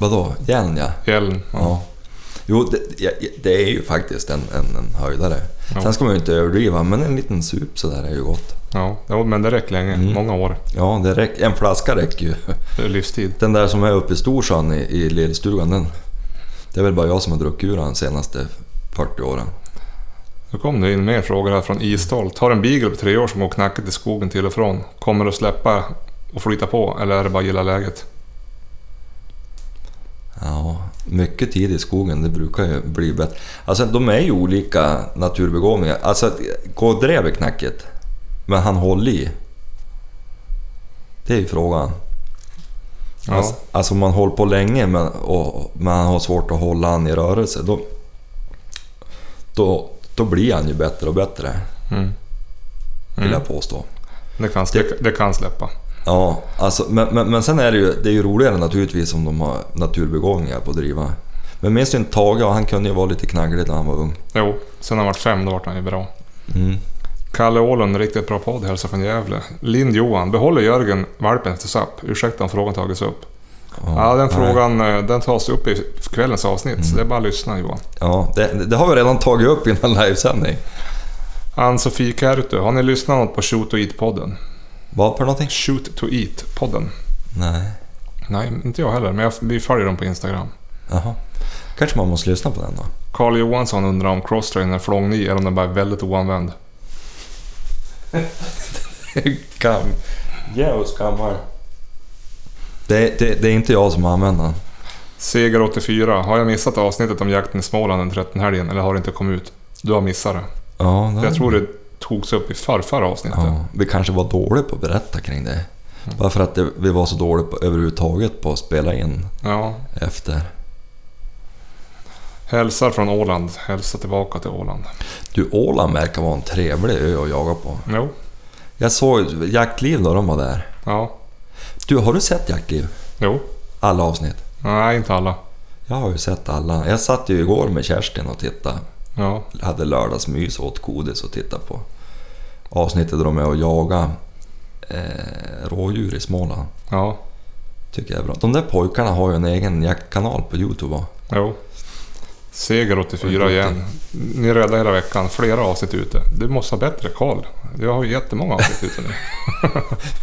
B: Vadå? Järn ja.
A: Hjelm.
B: ja. Jo, det, ja, det är ju faktiskt en, en, en höjdare.
A: Ja.
B: Sen ska man ju inte överdriva, men en liten sup sådär är ju gott.
A: Ja, jo, men det räcker länge.
B: Mm.
A: Många år.
B: Ja, det räck, en flaska räcker ju.
A: Det är livstid.
B: Den där som är uppe i Storsjön i, i Lillstugan, den... Det är väl bara jag som har druckit ur den de senaste 40 åren.
A: Nu kom det in mer frågor här från Istorp. Har en beagle på tre år som går knackigt i skogen till och från. Kommer du släppa och flyta på eller är det bara gilla läget?
B: Ja, mycket tid i skogen, det brukar ju bli bättre. Alltså de är ju olika naturbegåvningar. Alltså, att gå och drev är knackigt, men han håller i. Det är ju frågan.
A: Ja.
B: Alltså, alltså om man håller på länge men, och, men han har svårt att hålla han i rörelse, då, då, då blir han ju bättre och bättre,
A: Mm.
B: vill
A: Mm.
B: jag påstå.
A: Det, kan släppa, det kan släppa.
B: Ja, alltså, men, men, men sen är det ju, det är ju roligare naturligtvis om de har naturbegåvningar på att driva. Men minns du inte Tage? Ja, Han kunde ju vara lite knagglig när han var ung.
A: Jo, sen han vart fem då vart han ju bra.
B: Mm.
A: Kalle Åhlund, riktigt bra podd, hälsar från Gävle. Lind Johan, behåller Jörgen valpen efter SAP? Ursäkta om frågan tagits upp. Ja, den
B: nej.
A: frågan eh, den tas upp i kvällens avsnitt, så det är bara att lyssna Johan.
B: Ja, det, det har vi redan tagit upp innan livesändning.
A: Ann-Sofie Kärtu, har ni lyssnat något på Shoot to Eat-podden?
B: Vad för någonting?
A: Shoot to Eat-podden?
B: Nej.
A: Nej, inte jag heller, men jag, vi följer dem på Instagram.
B: Jaha. Kanske man måste lyssna på den då.
A: Carl Johansson undrar om crosstrainern är flångny eller om den bara är väldigt oanvänd.
B: Gam. Djävulskt gammal. Det, det, det är inte jag som använder den.
A: Seger 84. Har jag missat avsnittet om jakten i Småland den 13 helgen eller har det inte kommit ut? Du har missat det.
B: Ja, det-
A: Jag tror det togs upp i förrförra avsnittet.
B: Ja, vi kanske var dåliga på att berätta kring det. Bara för att det, vi var så dåliga på, överhuvudtaget på att spela in
A: Ja.
B: efter.
A: Hälsar från Åland. Hälsa tillbaka till Åland.
B: Du, Åland verkar vara en trevlig ö att jaga på.
A: Jo.
B: Jag såg Jaktliv då de var där.
A: Ja.
B: Du, har du sett Jaktliv?
A: Jo.
B: Alla avsnitt?
A: Nej, inte alla.
B: Jag har ju sett alla. Jag satt ju igår med Kerstin och tittade.
A: Ja.
B: Hade lördagsmys och åt godis och tittade på avsnittet där de är och jagar eh, rådjur i Småland.
A: Ja.
B: Tycker jag är bra. De där pojkarna har ju en egen jaktkanal på Youtube va?
A: Jo. Seger 84 igen. Ni räddade hela veckan. Flera avsnitt ute. Du måste ha bättre koll. Jag har ju jättemånga avsnitt ute nu.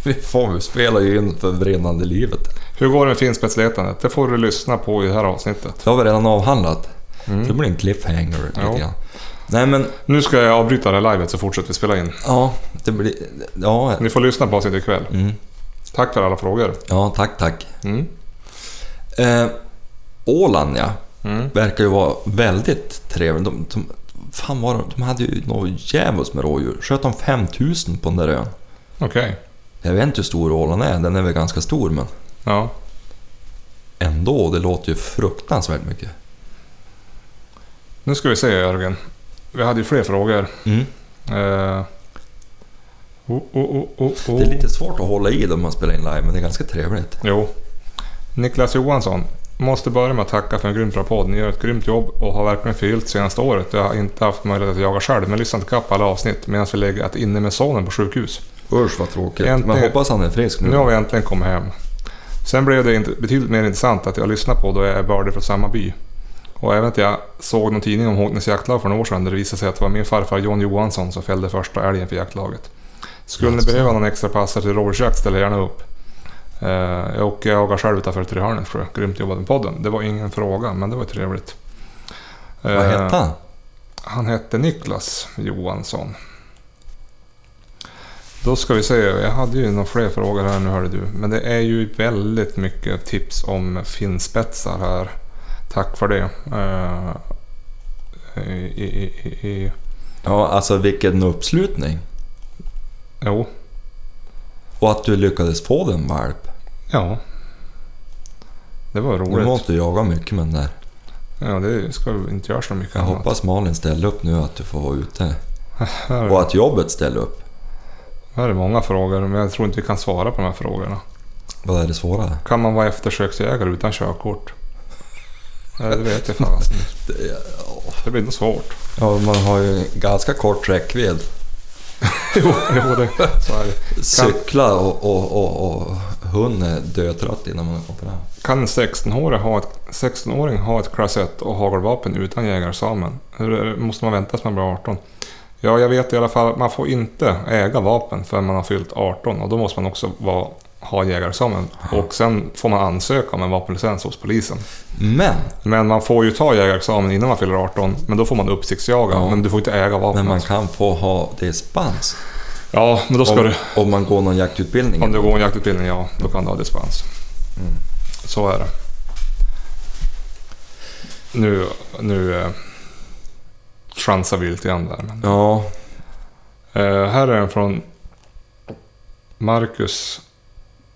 B: Vi får vi spelar ju in för brinnande livet.
A: Hur går det med finspetsletandet? Det får du lyssna på i det här avsnittet.
B: Det har vi redan avhandlat. Det blir en cliffhanger
A: Ja.
B: lite grann. Nej men,
A: Nu ska jag avbryta det här livet så fortsätter vi spela in.
B: ja. Det blir... Ja,
A: Ni får lyssna på avsnittet ikväll.
B: Mm.
A: Tack för alla frågor.
B: ja tack tack.
A: Mm.
B: Eh, Åland ja.
A: Mm.
B: Verkar ju vara väldigt trevligt. De, de, fan var de, de hade ju något djävulskt med rådjur. Sköt de 5000 på den där ön?
A: Okej.
B: Jag vet inte hur stor Åland är, den är väl ganska stor men
A: Ja.
B: ändå, det låter ju fruktansvärt mycket.
A: Nu ska vi se Jörgen. Vi hade ju fler frågor.
B: Mm.
A: Eh. Oh, oh, oh, oh, oh.
B: Det är lite svårt att hålla i dem man spelar in live, men det är ganska trevligt.
A: Jo. Niklas Johansson. Måste börja med att tacka för en grym bra podd. Ni gör ett grymt jobb och har verkligen förgyllt senaste året. Jag har inte haft möjlighet att jaga själv, men lyssnat ikapp alla avsnitt medan vi legat inne med sonen på sjukhus.
B: Usch vad tråkigt.
A: Egentligen-
B: Men hoppas han är frisk nu.
A: Nu har vi äntligen kommit hem. Sen blev det inte, betydligt mer intressant att jag lyssnade på då jag är bördig från samma by. Och även att jag såg någon tidning om Håknäs jaktlag för några år sedan där det visade sig att det var min farfar John Johansson som fällde första älgen för jaktlaget. Skulle ni
B: Jaså.
A: behöva någon extra passare till rådjursjakt ställer jag gärna upp. Eh, och jag jagar själv utanför Trehörnens sjö. Grymt jobbat med podden. Det var ingen fråga, men det var trevligt.
B: Vad
A: Eh,
B: hette han?
A: han hette Niklas Johansson. Då ska vi se, jag hade ju några fler frågor här nu hörde du. Men det är ju väldigt mycket tips om finspetsar här. Tack för det. Eh, i, i, i, i.
B: Ja, alltså vilken uppslutning.
A: Jo,
B: Och att du lyckades få den valp.
A: ja. Det var
B: Du
A: roligt.
B: måste jaga mycket med den där.
A: Ja, det ska vi inte göra så mycket
B: Jag
A: annat.
B: hoppas Malin ställer upp nu att du får vara ute.
A: Här,
B: Och att jobbet ställer upp.
A: här är många frågor, men jag tror inte vi kan svara på de här frågorna.
B: Vad är det svåra?
A: Kan man vara eftersöksjägare utan körkort? Nej, det vet jag fan. alltså. Det blir nog svårt.
B: Ja, man har ju ganska kort räckvidd.
A: Jo, jo det, så är det.
B: Cykla och, och, och, och hund är dötrött innan man kommer fram.
A: Kan en 16-åring ha ett, 16-åring ha ett klass 1 och hagelvapen utan jägarexamen? Hur är det- måste man vänta tills man blir 18? Ja, jag vet i alla fall att man får inte äga vapen förrän man har fyllt 18 och då måste man också vara, ha jägarexamen. Och sen får man ansöka om en vapenlicens hos polisen.
B: Men!
A: Men man får ju ta jägarexamen innan man fyller 18, men då får man uppsiktsjaga.
B: Ja.
A: Men du får inte äga vapen.
B: Men man kan få ha dispens.
A: Ja, men då ska
B: Om,
A: du...
B: om man går någon jaktutbildning.
A: Om du går en jaktutbildning, ja, då kan du ha dispens. Så är det. Nu, nu eh, chansar vi lite grann där. Men,
B: Ja,
A: eh, här är en från Marcus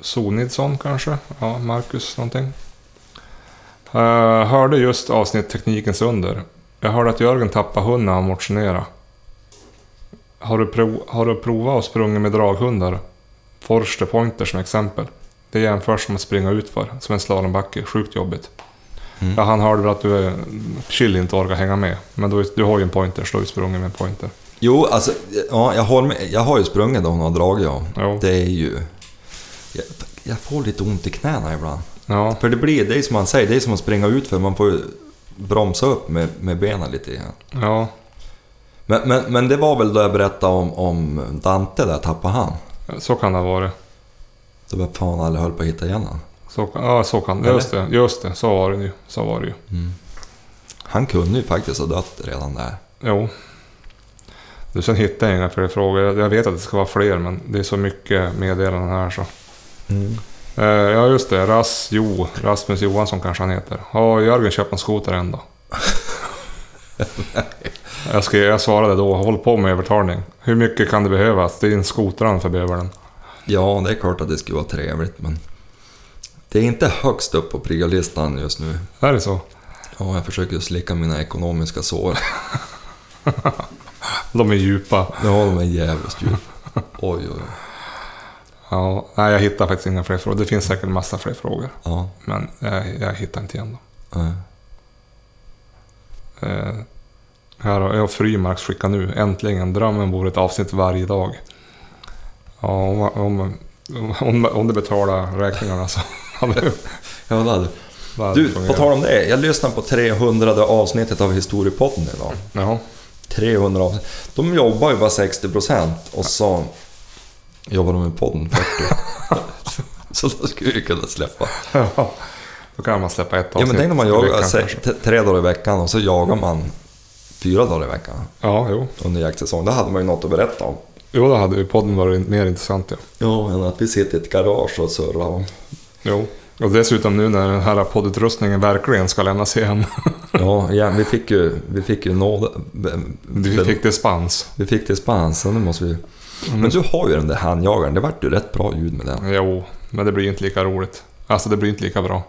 A: Sonidsson kanske? Ja, Marcus någonting. Eh, hörde just avsnitt Teknikens under. Jag hörde att Jörgen tappade hund när han motionerade. Har du, prov, har du provat och sprungit med draghundar? Forster Pointer som exempel. Det jämförs som att springa utför, som en slalombacke. Sjukt jobbigt.
B: Mm.
A: Ja, han hörde väl att du eh, chill inte orkar hänga med. Men du, du har ju en pointer, så du har ju sprungit med en pointer.
B: Jo, alltså, ja, jag, håller med. jag har ju sprungit då hon har dragit ja.
A: Jo.
B: Det är ju... Jag, jag får lite ont i knäna ibland.
A: Ja,
B: För det blir, det är som man säger, det är som att springa ut för man får ju bromsa upp med, med benen lite grann.
A: ja.
B: Men, men, men det var väl då jag berättade om, om Dante där, tappade han.
A: Så kan det ha varit.
B: Då var fan alla höll på att hitta igen han.
A: Så, kan- ja, så kan det. Just det, just det. Så var det ju. Så var det ju.
B: Han kunde ju faktiskt ha dött redan där.
A: Jo. Du, sen hittade jag inga fler frågor. Jag- Jag vet att det ska vara fler, men det är så mycket meddelanden här så.
B: Mm.
A: Eh, ja, just det. Ras, jo, Rasmus Johansson kanske han heter. Har Jörgen köpt en skoter än då? jag, skrev, jag svarade då, håll på med övertalning. Hur mycket kan det behövas? Det är en skoteran för bövelen.
B: Ja, det är klart att det skulle vara trevligt men... Det är inte högst upp på priolistan just nu.
A: Är det så?
B: Ja, jag försöker slicka mina ekonomiska sår.
A: De är djupa.
B: Nu har de en djävulskt djup. Oj, oj, oj.
A: Ja, nej, jag hittar faktiskt inga fler frågor. Det finns säkert massa fler frågor,
B: Ja,
A: men jag, jag hittar inte igen dem.
B: nej.
A: Eh, här har jag Frymarks skicka nu. Äntligen, drömmen vore ett avsnitt varje dag. Ja, om, om, om, om det betalar räkningarna så hade det
B: Ja, det hade-
A: hade
B: Du, på
A: fungerat.
B: tal om det. Jag lyssnade på 300 avsnittet av Historiepodden idag.
A: Jaha.
B: 300 avsnitt. De jobbar ju bara 60 procent och så jobbar de med podden 40. så då skulle vi kunna släppa.
A: Ja, Då kan man släppa ett avsnitt.
B: Ja, men tänk om man alltså-
A: i
B: jagar
A: veckan
B: se,
A: kanske.
B: t- tre dagar i veckan och så jagar man fyra dagar i veckan
A: Ja, jo.
B: under jaktsäsong. Då hade man ju något att berätta om.
A: Jo, då hade ju podden varit mer intressant. Ja.
B: Ja, än att vi sitter i ett garage och surrar om.
A: Jo. Och dessutom nu när den här poddutrustningen verkligen ska lämnas hem.
B: Ja, ja vi fick ju, vi fick ju nåd, be-
A: Vi fick dispens.
B: vi fick dispens, så nu måste vi... Men du har ju den där handjagaren, det vart ju rätt bra ljud med den.
A: Jo, men det blir ju inte lika roligt. Alltså det blir inte lika bra.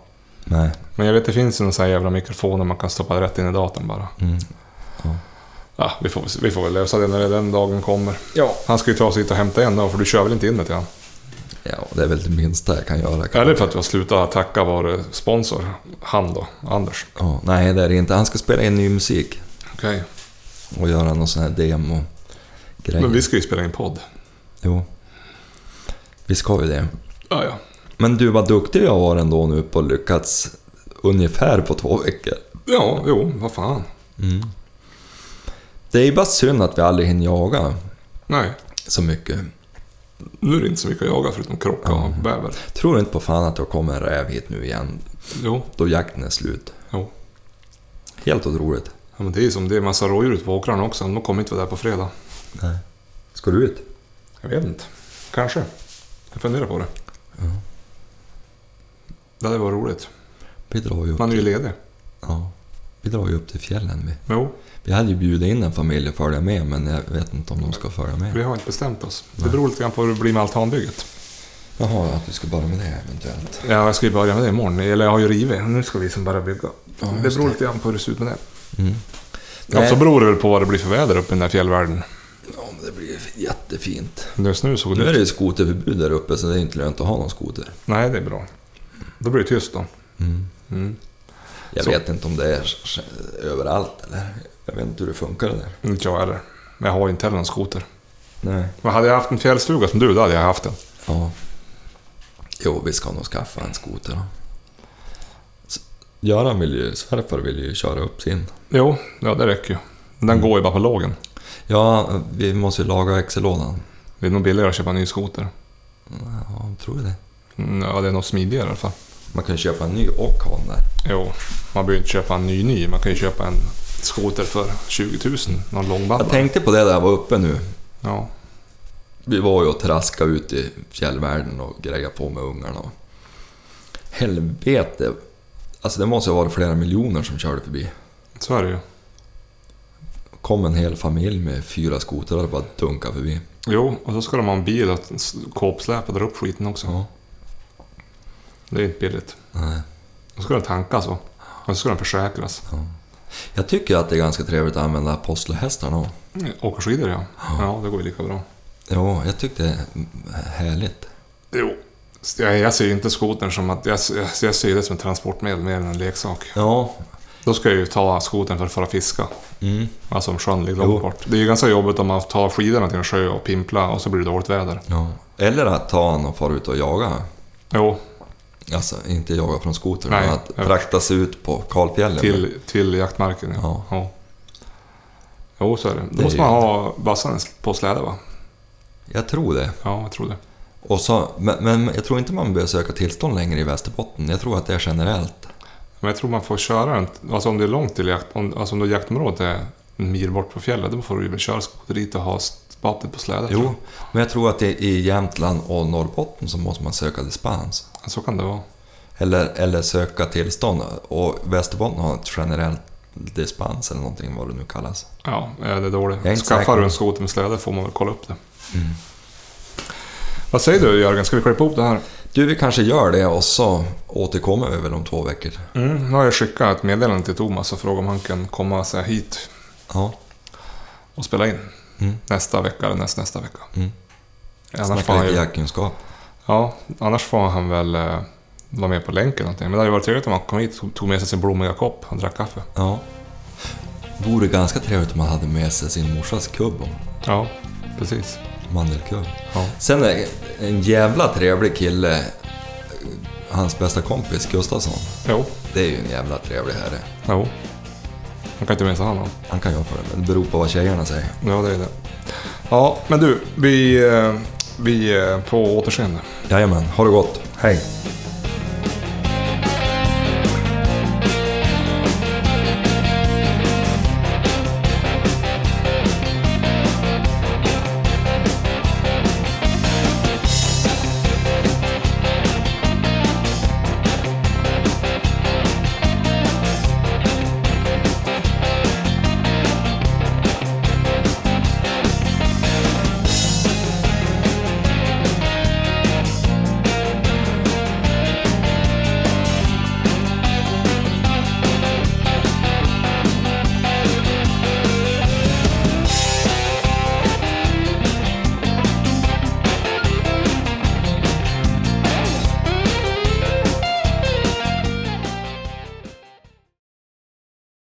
B: Nej.
A: Men jag vet, det finns ju någon sån här jävla mikrofon där man kan stoppa rätt in i datorn bara.
B: Mm.
A: Ja, vi får, vi får väl lösa det när den dagen kommer.
B: Ja.
A: Han ska ju ta sig hit och hämta en då, för du kör väl inte in det till han?
B: Ja, det är väl det minsta jag kan göra. kanske.
A: Eller för att du har slutat tacka vår sponsor, han då, Anders.
B: Ja, nej, det är det inte. Han ska spela in ny musik
A: Okej.
B: och göra någon sån här demo-grej.
A: Men vi ska ju spela in podd.
B: Jo. Vi ska ju det.
A: Ja, ja.
B: Men du, vad duktig jag var ändå nu på att lyckats ungefär på två veckor.
A: Ja, jo, vad fan.
B: Det är ju bara synd att vi aldrig hinner jaga
A: Nej,
B: så mycket.
A: nu är det inte så mycket att jaga förutom krocka och bäver.
B: Tror inte på fan att det kommer en räv hit nu igen,
A: Jo,
B: då jakten är slut.
A: jo.
B: Helt otroligt.
A: Ja, men det är ju som det är massa rådjur ute på åkrarna också, de kommer inte vara där på fredag.
B: Nej. Ska du ut?
A: Jag vet inte. Kanske. Jag funderar på det. Det hade varit roligt.
B: Vi drar ju upp,
A: Man är ju ledig.
B: ja. vi drar ju upp till fjällen vi.
A: Jo,
B: Vi hade ju bjudit in en familj att följa med, men jag vet inte om de ska följa
A: vi
B: med.
A: har inte bestämt oss. Det beror lite grann på hur det blir med altanbygget.
B: Jaha, att du ska börja med det eventuellt.
A: Ja, jag ska ju börja med det imorgon. Eller jag har ju rivit. Nu ska vi som bara bygga.
B: Ja,
A: det
B: just
A: beror lite grann på hur det ser ut med det.
B: Mm.
A: Ja,
B: Nej.
A: så beror det väl på vad det blir för väder uppe i den där fjällvärlden.
B: Ja, men det blir jättefint.
A: Just nu såg det
B: Nu är
A: ut...
B: det ju skoterförbud där uppe, så det är inte lönt att ha någon skoter.
A: Nej, det är bra. Då blir det tyst då. Mm.
B: Jag
A: Så.
B: vet inte om det är s- s- överallt eller? Jag vet inte hur det funkar det där.
A: Inte jag heller. Men jag har ju inte heller någon skoter.
B: Nej.
A: Men hade jag haft en fjällstuga som du, då hade jag haft en.
B: Ja. Jo, vi ska nog skaffa en skoter då. S- Göran vill ju, svärfar vill ju köra upp sin.
A: Jo, ja, det räcker ju. Den
B: Mm.
A: går ju bara på lågen.
B: Ja, vi måste ju laga växellådan.
A: Det är nog billigare att köpa en ny skoter.
B: Ja, tror jag det.
A: Mm, Ja, det är nog smidigare i alla fall.
B: Man kan ju köpa en ny och ha den där.
A: Jo, man behöver ju inte köpa en ny ny. Man kan ju köpa en skoter för 20 000. Någon
B: Jag
A: långbandare.
B: tänkte på det där jag var uppe nu.
A: Ja.
B: Vi var ju och traskade ut i fjällvärlden och grejade på med ungarna. och- Helvete! Alltså det måste ju ha varit flera miljoner som körde förbi.
A: Så är det ju.
B: kom en hel familj med fyra skotrar och bara dunkade förbi.
A: Jo, och så ska de ha en bil att s- kåpsläpa dra upp skiten också.
B: Ja.
A: Det är inte billigt.
B: Nej.
A: Då ska den tankas och och så ska den försäkras.
B: Jag tycker att det är ganska trevligt att använda apostelhästarna också.
A: Mm, Åker skidor ja. Ja, det går ju lika bra.
B: Ja, jag tycker det är härligt.
A: Jo. S- Jag, jag ser ju inte skotern som att... Jag, s- jag, jag ser det som ett transportmedel mer än en leksak.
B: Ja.
A: Då ska jag ju ta skotern för att fara fiska.
B: Mm.
A: Alltså om sjön ligger
B: Jo.
A: långt bort. Det är ju ganska jobbigt om man tar skidorna till en sjö och pimpla och så blir det dåligt väder.
B: ja. Eller att ta en och fara ut och jaga.
A: Jo,
B: Alltså inte jaga från skotern,
A: Nej,
B: men att
A: jag-
B: frakta sig ut på kalfjällen.
A: till, till jaktmarken ja.
B: Ja.
A: ja. Jo, så är det. Då
B: är
A: måste
B: ju-
A: man ha bassan på släde va?
B: Jag tror det.
A: Ja, jag tror det.
B: Och så, men, men jag tror inte man behöver söka tillstånd längre i Västerbotten. Jag tror att det är generellt.
A: Men jag tror man får köra den, alltså om det är långt till jakt, om, alltså om det jaktområdet är en mil bort på fjället, då får du ju väl köra skoter dit och ha vapnet på slädet.
B: Jo, men jag tror att det i Jämtland och Norrbotten så måste man söka dispens.
A: Ja, Så kan det vara.
B: Eller, eller söka tillstånd. Och Västerbotten har ett generellt dispens eller någonting, vad det nu kallas.
A: Ja, eh, det är dåligt.
B: Jag är inte säker. Mm.
A: Skaffar du en skoter med släde får man väl kolla upp det. Vad säger du Jörgen, ska vi klippa ihop det här?
B: Du, vi kanske gör det och så återkommer vi väl om två veckor.
A: Mm, nu har jag skickat ett meddelande till Thomas och frågat om han kan komma så här hit
B: Ja,
A: och spela in
B: Mm.
A: nästa vecka eller näst, nästa vecka.
B: Mm.
A: Annars, får
B: snacka
A: han
B: lite
A: ju,
B: jaktkunskap.
A: ja, annars får han väl eh, vara med på länk eller någonting. Men det hade ju varit trevligt om han kom hit och tog- tog med sig sin blommiga kopp och drack kaffe.
B: Ja. Vore ganska trevligt om man hade med sig sin morsas kubb,
A: Ja, precis.
B: mandelkubb.
A: Ja.
B: Sen är en jävla trevlig kille, hans bästa kompis Gustafsson.
A: Jo,
B: Det är ju en jävla trevlig herre.
A: jo. Man kan inte missa honom.
B: Han kan jag för det, men det beror på vad tjejerna säger.
A: Ja, det är det. Ja, men du, vi, eh, vi eh, på återseende.
B: Jajamän, ha det gott. Hej.